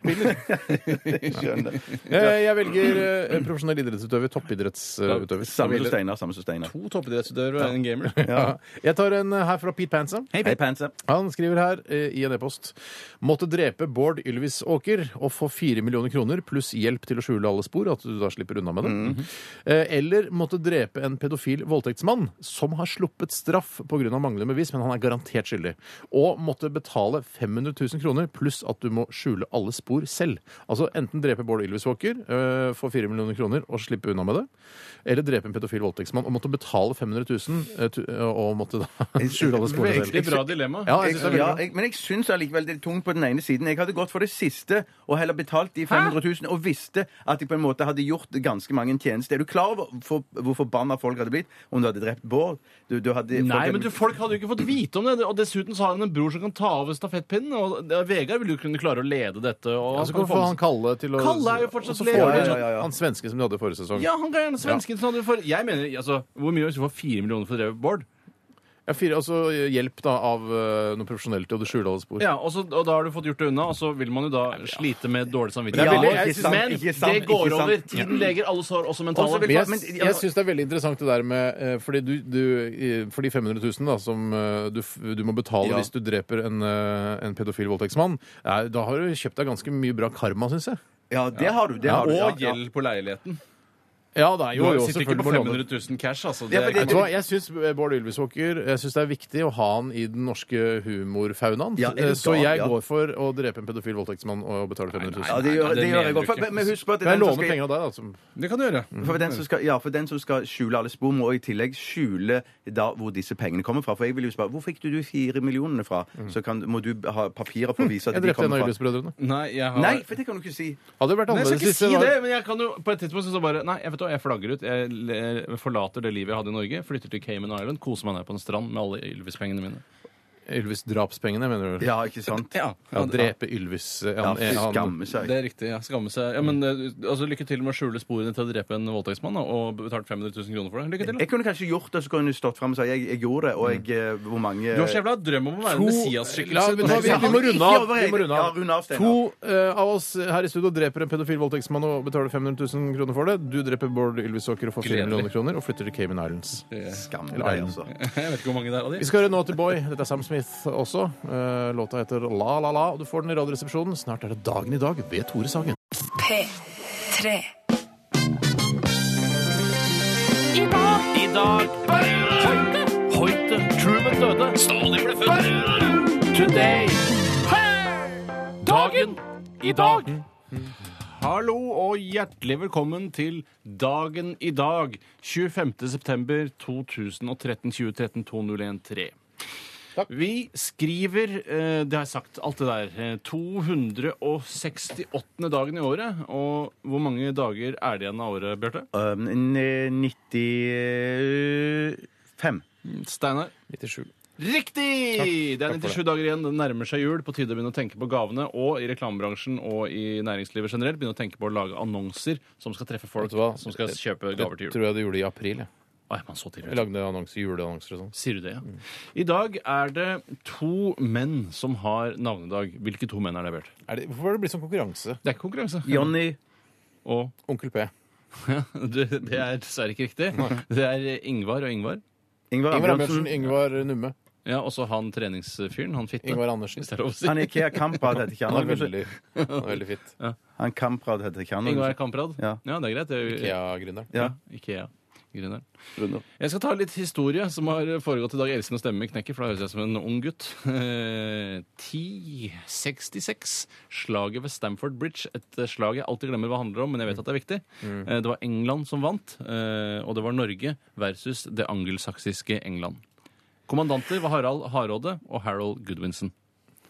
skjønner. Eh, Jeg velger eh, profesjonell idrettsutøver. Toppidrettsutøver. Samme som Steinar. Samme som Steinar. To toppidrettsutøvere og en gamer. Ja. Jeg tar en eh, her fra Pete Panser. Hei, Panser. Han skriver her eh, i en e-post Måtte drepe Bård Ylvis Åker og få fire millioner kroner pluss hjelp til å skjule alle spor, at du da slipper unna med det. Eh, Eller måtte drepe en pedofil voldtektsmann som har sluppet straff pga. manglende bevis, men han er garantert skyldig. Og måtte betale 500 000 kroner pluss at du må skjule alle spor selv. Altså enten drepe Bård Ylvis Åker, eh, få fire millioner kroner og slippe unna med det, eller drepe en pedofil voldtektsmann og måtte betale 500 000 eh, tu- og måtte da skjule alle sporene selv. Veldig bra dilemma. Ja, jeg Jeg, synes det er veldig ja, bra. jeg, men jeg syns allikevel det er tungt på den ene siden. Jeg hadde gått for det siste og heller betalt de 500 000 og visste at jeg på en måte hadde gjort ganske mange tjenester. Er du klar over for, hvor forbanna folk hadde blitt om du hadde drept Bård? Du, du hadde, folk Nei, hadde- men du, Folk hadde jo ikke fått vite om det. Og dessuten så har han en bror som kan ta over stafettpinnen. Og det- Vegard vil jo kunne klare å lede dette. Og Ja, så kan du få Altså, han Kalle til å Kalle er jo fortsatt Og så leder. får de Ja, ja, ja, ja. Han sånn svenske som de hadde i forrige sesong. ja, han kan gjerne svensken. sånn som hadde for, jeg mener, altså, Hvor mye hvis du får fire millioner for å dreve Bård? Ja, fire, altså hjelp da av eh, noe profesjonelt til å skjule alle spor. Ja, og, så, og da har du fått gjort det unna, og så vil man jo da slite med dårlig samvittighet. Ja, Men- ikke sant, men ikke sant, det går ikke sant. over. Tiden leger alle sår, også mentale. Også vil- Men jeg, Men- jeg syns det er veldig interessant det der med eh, Fordi du, du eh, For de 500 000 da, som eh, du, f- du må betale Ja. hvis du dreper en, eh, en pedofil voldtektsmann, ja, da har du kjøpt deg ganske mye bra karma, syns jeg. Ja, det har du. Det har og du ja, ja. gjeld på leiligheten. Ja, det er Du jo, jo sitter ikke selvfølgelig på må låne. 500 000 cash, altså. Ja, Det men er Vet det- du hva, jeg syns eh, Bård Ylvisåker Jeg synes det er viktig å ha han i den norske humorfaunaen. Eh, Ja, er du så gal, jeg ja. går for å drepe en pedofil voldtektsmann og betale 500 Ja, 000. det gjør, det Nei, nei, det gjør mener jeg du godt. For- ikke. Men men husk på at Kan jeg den som låne skal, penger av deg, da? Som Det kan du gjøre. Mm. for den som skal, ja, for den som skal skjule alle spor, må i tillegg skjule da hvor disse pengene kommer fra. For jeg vil jo spørre hvor fikk du de fire millionene fra? Så kan, må du ha papirer for å vise at jeg de drepte en av kommer fra Ylvis-brødrene. Nei, jeg har Nei, for det kan du ikke si. Hadde det vært Nei, jeg annerledes skal ikke hvis si det det, var men jeg kan jo på et tidspunkt så bare Nei, jeg vet hva, jeg flagger ut. Jeg le- forlater det livet jeg hadde i Norge, flytter til Cayman Island, koser meg der på en strand med alle Ylvis-pengene mine. Ylvis-drapspengene, mener du? Ja, ikke sant? Ja, Ja, drepe Ylvis eh, Ja, han, fy eh, han, skamme seg. Det er riktig. ja, Skamme seg. Ja, men eh, altså, Lykke til med å skjule sporene til å drepe en voldtektsmann da, og betalt 500 000 kroner for det. Lykke til. da. Jeg kunne kanskje gjort det, så kunne jeg stått frem og sagt jeg, jeg gjorde det, og jeg, eh, hvor mange Du har så jævla drøm om å være To- en La- vet du hva, Messias-skikkelse. vi, vi må runde av. Vi må Ja, runde runde av, av. Steinar. To eh, av oss her i studio dreper en pedofil voldtektsmann og betaler 500 000 kroner for det. Du dreper Bård Ylvisåker og får 4 Gledelig. millioner kroner og flytter til Cayman Islands. Skam deg, altså. Jeg vet ikke hvor mange det er av de. Vi skal høre Naughty Boy. Dette er Sam Smith også. Eh, Låta heter La La La, og du får den i Radioresepsjonen. Snart er det Dagen i dag ved Tore Sagen. P3. I dag Hoite Truman døde Stalin ble født Today Dagen I dag Hallo og hjertelig velkommen til dagen i dag, 25. september 2013, 2013 2013. Vi skriver, eh, det har jeg sagt, alt det der, eh, 268. dagen i året. Og hvor mange dager er det igjen av året, Bjarte? Um, n- 95. Steinar? 97. Riktig! Det er 97 dager igjen. Det nærmer seg jul. På tide å begynne å tenke på gavene. Og i reklamebransjen og i næringslivet generelt begynne å tenke på å lage annonser som skal treffe folk Vet du hva? som skal kjøpe gaver til Det jul. tror jeg du gjorde i april. Jeg, Å, er man så tidlig jeg ute? lagde annonser, juleannonser og sånn. Sier du det, ja? I dag er det to menn som har navnedag. Hvilke to menn er det, Bjørt? Er det- Hvorfor har det blitt sånn konkurranse? Det er ikke konkurranse. Jonny. Og Onkel P. det, det er dessverre ikke riktig. Det er Ingvar og Ingvar. Ingvar Ingvar Ambjørnsen. Ambjørnsen, Ingvar Numme, Ja, også han treningsfyren. Han fitte. Ingvar Andersen. Hvis det er lov å si. Han er Ikea Kamprad, heter ikke Han er han? veldig, han er veldig fit. Han Kamprad heter ikke han. Ingvar Kamprad. Ja. ja, det er greit. Det er, jo- IKEA-gründeren. Ja. Ikea. Gründeren. Gründer. Jeg skal ta litt historie som har foregått i dag. Jeg elsker når stemmen min knekker, for da høres jeg som en ung gutt. Eh, 1066. Slaget ved Stamford Bridge. Et eh, slag jeg alltid glemmer hva det handler om, men jeg vet at det er viktig. Mm. Eh, Det var England som vant, eh, og det var Norge versus det angelsaksiske England. Kommandanter var Harald Hardråde og Harold Goodwinson.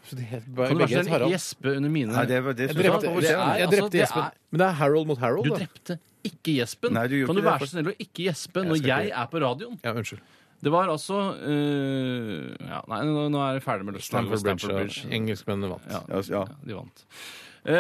Så de het- Kan begge du være så het snill Harald. gjespe under mine Nei, det var det Jeg synes jeg drepte, var det er, provoserende. jeg Altså, drepte det er- Espen. Men det er Harold mot Harold, Du da. drepte ikke gjespen! Nei, du gjorde kan du ikke det, være så snill å ikke gjespe Jeg når skal jeg ikke- er på radioen? Ja, unnskyld. Det var altså eh, ja, Nei, nå, nå er jeg ferdig med det. Stamford Bridge. Stamford ja. Engelskmennene vant. Ja, Ja, ja. de vant. Eh,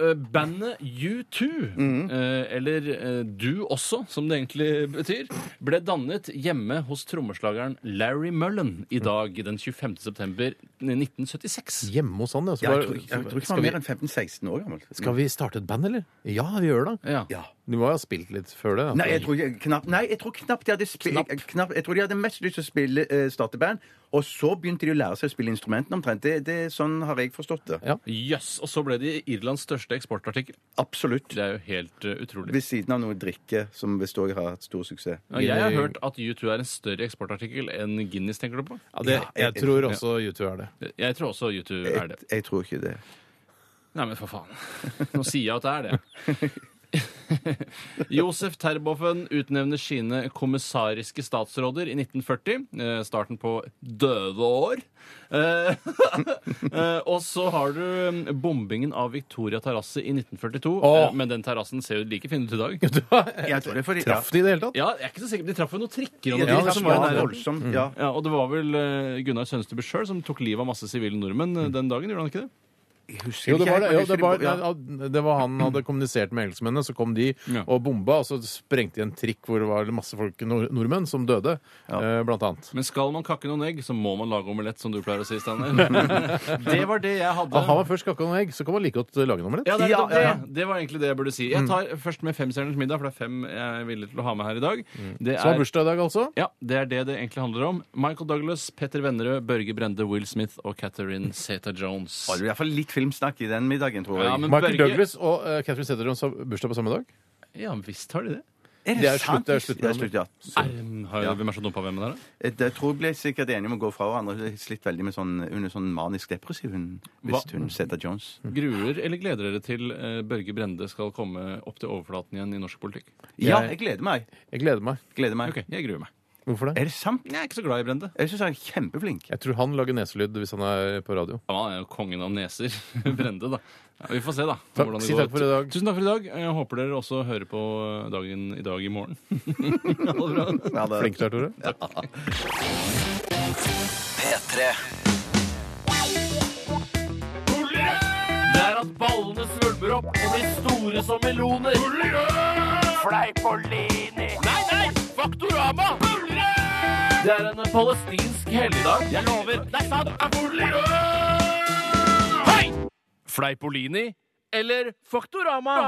eh, bandet U2, Mhm. eh, eller eh, Du også, som det egentlig betyr, ble dannet hjemme hos trommeslageren Larry Mullen i dag, den 25. september eh, 1976. Hjemme hos han, ja. Så Jeg bare- tror ikke jeg tror ikke han skal, var mer vi, enn 15-16 år gammel. skal vi starte et band, eller? Mm. Ja, vi gjør det. Ja. Ja. Du må jo ha spilt litt før det. da. Nei, jeg tror ikke- knapt Nei, jeg tror knapt de hadde spi- knapt- Jeg tror de hadde mest lyst til å spille, eh, starte band, og så begynte de å lære seg å spille instrumentene omtrent. Det, det, sånn har jeg forstått det. Ja. Jøss! og så ble de Irlands største eksportartikkel. Absolutt. Det er jo helt eh, utrolig. Ved siden av noe drikke, som visst òg har hatt stor suksess. Ja, jeg har hørt at U2 er en større eksportartikkel enn Guinness, tenker du på? Ja, det, jeg tror også YouTube er det. Jeg tror også U2 er Jeg, det. jeg tror ikke det. Nei, men for faen. Nå sier jeg at det er det. Josef Terboven utnevner sine kommissariske statsråder i 1940. Eh, starten på døde år. Eh, eh, og så har du eh, bombingen av Victoria terrasse i 1942. Åh. Eh, men den terrassen ser jo like fin ut i dag. Jeg tror det er fordi Traff de i det hele tatt? Ja, jeg er ikke så sikker. De traff jo noen trikker. Og Ja, noen de ting traff som var i meg nærheten. voldsomt. Ja. ja, og det var vel eh, Gunnar Sønstebø sjøl som tok livet av masse sivile nordmenn eh, den dagen, gjorde han ikke det? Jeg husker Jo, det ikke var, helt, det, men jo, jeg det, var, husker de- ja. det var han hadde kommunisert med engelskmennene, så kom de Ja. og bomba, og så sprengte de en trikk hvor det var masse folk, nord nordmenn som døde, eh, blant annet. Men skal man kakke noen egg, så må man lage omelett, som du pleier å si, Steinar. det var det jeg hadde. Da har man først kakka noen egg, så kan man like godt lage en omelett. Ja, det, er nettopp Ja, ja, ja. Det. det var egentlig det jeg burde si. Jeg tar først med femstjerners middag, for det er fem jeg er villig til å ha med her i dag. Det Så har er, bursdag i dag, altså. ja, det er det det egentlig handler om. Michael Douglas, Petter Vennerød, Børge Brende, Will Smith og Catherine Zeta-Jones. Det var i hvert fall litt filmsnakk i den middagen, tror jeg. Ja, men Michael Børge- Douglas og eh, Catherine Zeta-Jones har bursdag på samme dag. Ja, visst har de det. Det er slutt, det er slutt. Det er slutt, ja. Er, har, Hvem er så dumpa hvem der, da? Jeg tror jeg ble sikkert enige om å gå fra hverandre. Jeg har slitt veldig med sånn, Hun er sånn manisk depressiv, hun, hvis Hva? Mm. hun setter Jones. Gruer eller gleder dere til eh, Børge Brende skal komme opp til overflaten igjen i norsk politikk? Ja, jeg gleder meg. Jeg gleder meg. Gleder meg. Ok, jeg gruer meg. Hvorfor det? Er det sant? Jeg er ikke så glad i Brende. Jeg syns han er kjempeflink. Jeg tror han lager neselyd hvis han er på radio. Ja, Han er jo kongen av neser. Brende, da. Ja, vi får se, da. Takk. hvordan det Si går. takk for i dag. Tusen takk for i dag. Jeg håper dere også hører på eh, dagen i dag i morgen. ha det bra. Ja, det- Flink du er, Tore. P3 Det er at ballene svulmer opp og blir store som meloner. Fleipolini. Nei, nei! Faktorama. Det er en palestinsk helligdag. Jeg lover. Det er sant. Hei! Fleipolini eller Faktorama?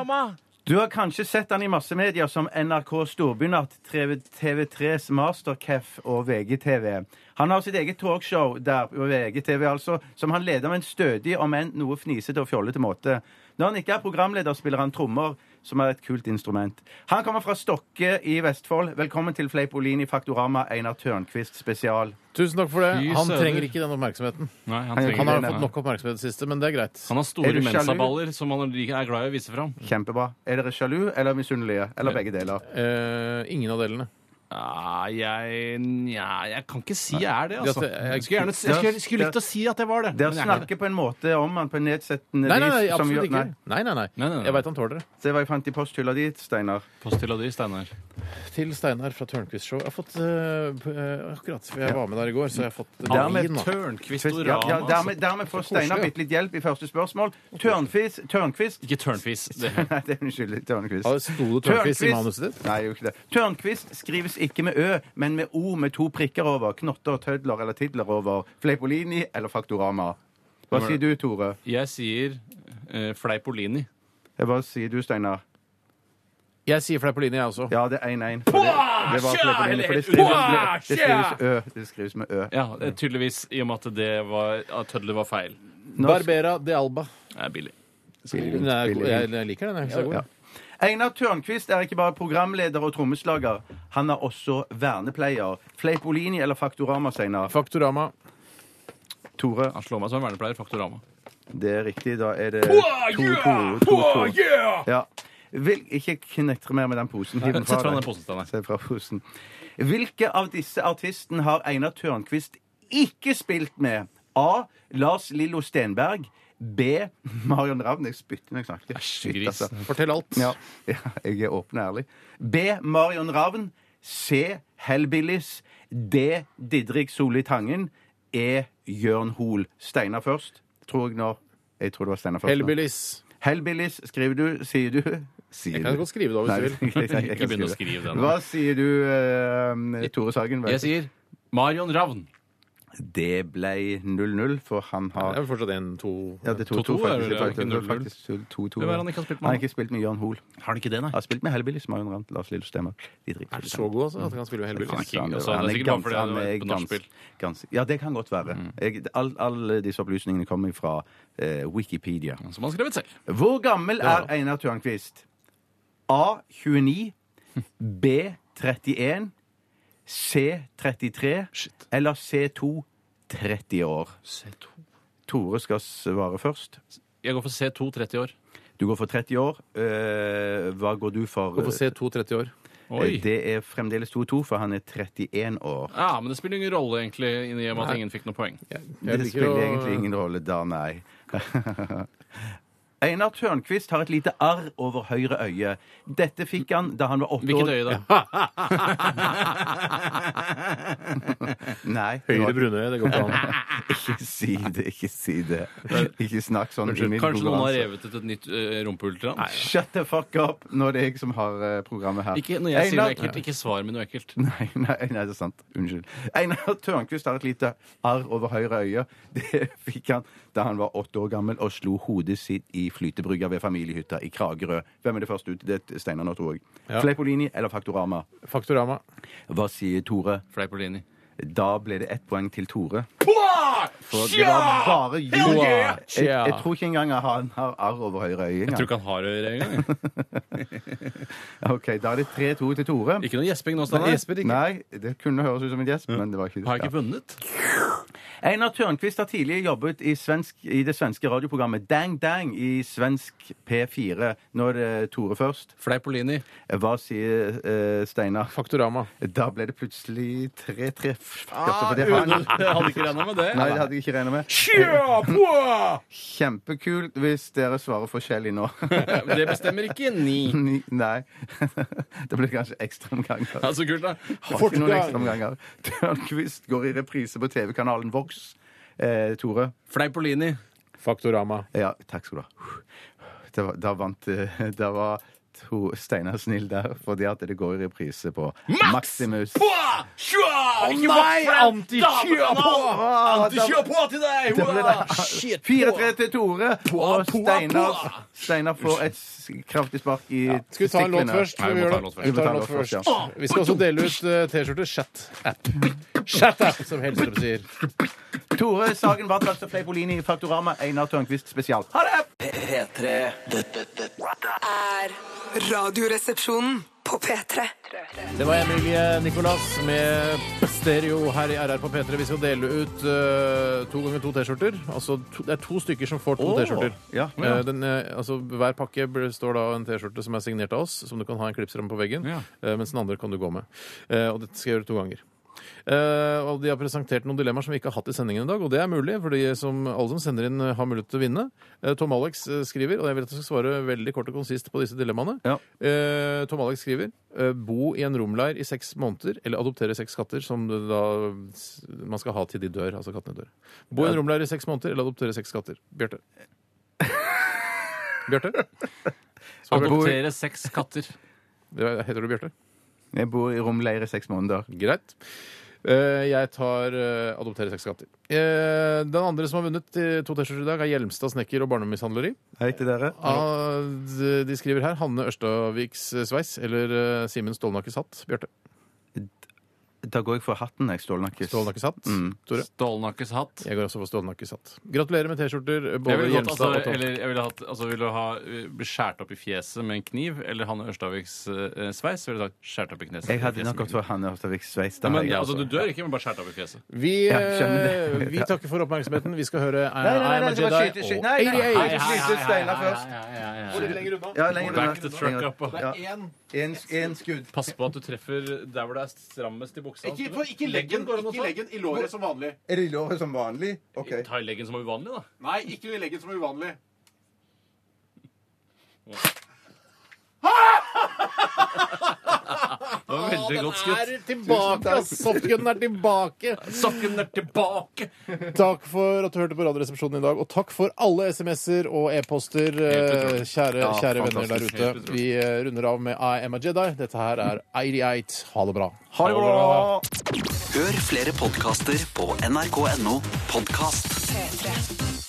Du har kanskje sett han i masse medier som NRK Storbynatt, TV- TV3s Mastercaf og VGTV. Han har sitt eget talkshow der, på VGTV altså, som han leder med en stødig, om enn noe fnisete og fjollete måte. Når han ikke er programleder, spiller han trommer. som er et kult instrument. Han kommer fra Stokke i Vestfold. Velkommen til Fleipolini Faktorama, Einar Tørnquist spesial. Tusen takk for det. Fy Han søder. trenger ikke den oppmerksomheten. Nei, han, Han- trenger, Han har Nei. fått nok oppmerksomhet i det siste, men det er greit. han har Er du store sjalu? mensaballer som han liker- er glad i å vise fram. Kjempebra. Er dere sjalu eller misunnelige? Eller begge deler? Eh, ingen av delene. Ja, jeg, nja, jeg kan ikke si jeg er det, altså. Det er- Jeg skulle, gjerne, jeg skulle, skulle likt å si at jeg var det. Dere men jeg er ikke det. snakker på en måte om han på en nedsettende Nei, nei, nei, vis som absolutt gjør- ikke. Nei, Nei. nei, nei. Nei, nei, nei. Jeg veit han tåler det. Se hva jeg fant i posthylla di, Steinar. Post til og dy, Steinar. Til Steinar fra Tørnquist Show. Jeg har fått eh, p- eh, Akkurat, for jeg var med der i går, så jeg har fått Ja, men vin, da. Tørnquist Ja, og ja, Rama. altså. dermed, dermed får Steinar bitte litt hjelp i første spørsmål. Tørnfis, Tørnquist Ikke Tørnquist. Det. Nei, det er unnskyld. Tørnquist. Ja, Sto det Tørnquist i manuset ditt? Nei, jo ikke det. Tørnquist skrives ikke med Ø, men med O med to prikker over. Knotter, tødler eller tidler over. Fleipolini eller Faktorama. Hva sier du, Tore? Jeg sier eh, Fleipolini. Hva sier du, Steinar? Jeg sier Fleipolini, jeg også. Ja, det er 1-1. for Det, det var Fleipolini, for det skrives, det skrives Ø. Det skrives med Ø. Ja, det er tydeligvis, i og med at det var, at Tødler var feil. Barbera de Alba. Det er billig. Nei, jeg, jeg liker den. Jeg, så god. Ja. Einar Tørnquist er ikke bare programleder og trommeslager. Han er også vernepleier. Fleipolini eller Faktorama, Steinar? Faktorama. Tore. Han slår meg som en vernepleier. Faktorama. Det er riktig. Da er det 2-2. 2-2. Ja. Vil ikke knetre mer med den posen. Hiv den Sett fra den deg. posen, Steinar. Se fra posen. Hvilke av disse artistene har Einar Tørnquist ikke spilt med? A. Lars Lillo Stenberg. B. Marion Ravn. Jeg spytter når jeg snakker. Æsj, Shit, gris. altså. Fortell alt. Ja, ja, jeg er åpen og ærlig. B. Marion Ravn. C. Hellbillies. D. Didrik Solli Tangen. E. Jørn Hoel. Steinar først, tror jeg nå. Jeg tror det var Steinar først. nå. Hellbillies. Hellbillies skriver du, sier du. Sier Jeg kan godt skrive det over hvis du vil. Ikke begynn å skrive det nå. Hva sier du, eh, Tore Sagen? Jeg sier Marion Ravn. Det ble 0-0, for han Det er har vel fortsatt en, to ja, det er 2-2, 2-2 er faktisk. det, Det er faktisk- ikke det er 0-0. faktisk 2-2. Hvem er det han ikke har spilt med? Han har ikke spilt med Jørn Hoel. Har han ikke det, nei? Han har spilt med Hellbillies, Marion Rand, Lars Lillo Stemmer. De drikker Er det så god altså, at han kan spille med Hellbillies? King, altså. Han Det er sikkert bare gans- fordi han han har er vært på Mm. nachspiel. gans- gans- Ja, det kan godt være. Jeg, all, alle disse opplysningene kommer fra eh, Wikipedia. Som han har skrevet selv. Hvor gammel er Einar Tørnquist? A. 29. B. 31. C. 33. Shit. Eller C2. 30 år. C2. Tore skal svare først. Jeg går for C2 30 år. Du går for 30 år. Eh, hva går du for? Gå på C2 30 år. Oi. Eh, Det er fremdeles 2-2, for han er 31 år. Ja, men det spiller ingen rolle, egentlig, i og med at ingen fikk noe poeng. Jeg det liker spiller å- egentlig ingen rolle da, nei. Einar Tørnquist har et lite arr over høyre øye. Dette fikk han da han var åtte år. Hvilket øye, da? Nei, det Høyre var- brunøye, det går ikke an. ikke si det, ikke si det. Ikke snakk sånn. i min Kanskje noen har konkurranse. revet ut et nytt uh, rumpehulltran? Shut the fuck up! Nå er det jeg som har eh, programmet her. Ikke når jeg sier noe Einar- ekkelt, ikke svar med noe ekkelt. Nei, nei, nei, det er sant. Unnskyld. Einar Tørnquist har et lite arr over høyre øye. Det fikk han da han var åtte år gammel og slo hodet sitt i flytebrygga ved familiehytta i Kragerø. Hvem er det først ut? Det er Steinar nå, tror jeg. Fleipolini eller Faktorama? Faktorama. Hva sier Tore? Fleipolini. Da ble det ett poeng til Tore. For det var bare jul. yeah! Jeg, jeg tror ikke engang han har arr over høyre øye. Jeg engang. tror ikke han har øre engang. jeg. Ok, Da er det 3-2 til Tore. Ikke noe gjesping nå, Steinar. Nei, det kunne høres ut som en gjesp, men det var ikke det. Har jeg Ja. ikke vunnet? Einar Tørnquist har tidligere jobbet i, svensk, i det svenske radioprogrammet Dang Dang i svensk P4. Nå er det eh, Tore først. Fleipolini. Hva sier eh, Steinar? Faktorama. Da ble det plutselig tre treff. Ah, Jeg hadde ikke regna med det. Nei, det hadde jeg ikke regna med. Kjempekult hvis dere svarer forskjellig nå. Det bestemmer ikke ni. Ni- Nei. Det blir kanskje ekstraomganger. Ja, så kult, da. Har ikke noen ekstraomganger. Tørnquist går i reprise på TV-kanalen Vox. Eh, Tore? Fleipolini. Faktorama. Ja, takk skal du ha. Det var, da vant eh, Da var to Steinar snill der, fordi at det går i reprise på Maximus. Å Antikjør på til deg! Shit, 4-3 til Tore, og Steinar, Steinar får et s- kraftig spark i Skal vi ta en låt testiklene. først? Skal Nei, vi vi må gjøre ta det? en låt først. Vi tar en låt ja. først. Vi skal også dele ut eh, T-skjorte. Chat app. Chat app, som Hellstrøm sier. Tore Sagen Vatlaks og Fleipolini i Faktorama, Einar Tørnquist spesial. Ha det! P- P3. Dette, dette er Radioresepsjonen på P3. Det var Emilie Nicolas med stereo her i RR på P3. Vi skal dele ut eh, to ganger to T-skjorter. Altså, to, det er to stykker som får to Åh, T-skjorter. ja, ja. Eh, den, eh, altså, hver pakke består da av en T-skjorte som er signert av oss, som du kan ha en klipsramme på veggen, Ja. eh, mens den andre kan du gå med. Eh, og dette skal jeg gjøre to ganger. Eh, og De har presentert noen dilemmaer som vi ikke har hatt i sendingen i dag. Og det er mulig, for som, alle som sender inn, eh, har mulighet til å vinne. Eh, Tom Alex eh, skriver, og jeg vil at jeg skal svare veldig kort og konsist på disse dilemmaene. Ja. Eh, Tom Alex skriver eh, bo i en romleir i seks måneder, eller adoptere seks katter som det da s- man skal ha til de dør. Altså kattene dør. Bo i en romleir i seks måneder eller adoptere seks katter. Bjarte. Bjarte? Svar, Bjarte. Adoptere seks katter. Heter du Bjarte? Jeg bor i romleir i seks måneder. Greit. Eh, Jeg tar eh, adoptere seks katter. Eh, Den andre som har vunnet eh, to T-skjorter i dag, er Hjelmstad snekker og barnemishandleri. Hei til dere. Ah, d- De skriver her Hanne Ørstaviks eh, sveis eller eh, Simen Stålnakkes hatt. Bjarte. Da går jeg for hatten, jeg, Stålnakkes. Stålnakkes hatt. Tore. Stålnakkes hatt. Jeg går også for stålnakkes hatt. Gratulerer med T-skjorter, Jeg både ville gått, altså, Hjelmstad og Tom. eller, jeg ville hatt, altså, ville du ha, eh, bli skåret opp i fjeset med en kniv, eller Hanne Ørstaviks eh, sveis, så ville du ha skåret opp i kneset. Jeg hadde nok gått for Hanne Ørstavik Sveits. da, Men, jeg, altså, altså. du dør ikke, men bare skåret opp i fjeset. Vi, Ja, skjønner eh, vi takker for oppmerksomheten. Vi skal høre eh, Nei, I Am a nei, nei, nei, det Jedi var skyte, og skyte. Nei, nei, nei, 88. nei, nei, nei, Steinar først. Ja, lenger Back the unna. truck up. og- Ja. En, en skudd. Pass på at du treffer der hvor det er strammest i buksa. Ikke, på, ikke leggen, går det an å ikke ta. leggen i låret som vanlig. Er det i låret som vanlig? OK. Ta i leggen som er uvanlig, da. Nei, ikke i leggen som er uvanlig. Det var veldig godt skutt. Tilbake, ass! Softgunen er tilbake! Sokken er tilbake! Takk for at du hørte på Radioresepsjonen i dag, og takk for alle SMS-er og e-poster, eh, kjære, Ja, kjære venner der fantastisk. ute. Helt utrolig. Vi eh, runder av med I Am a Jedi. Dette her er 88. Ha det bra. Ha det bra! Hør flere podkaster på nrk.no podkast. P3.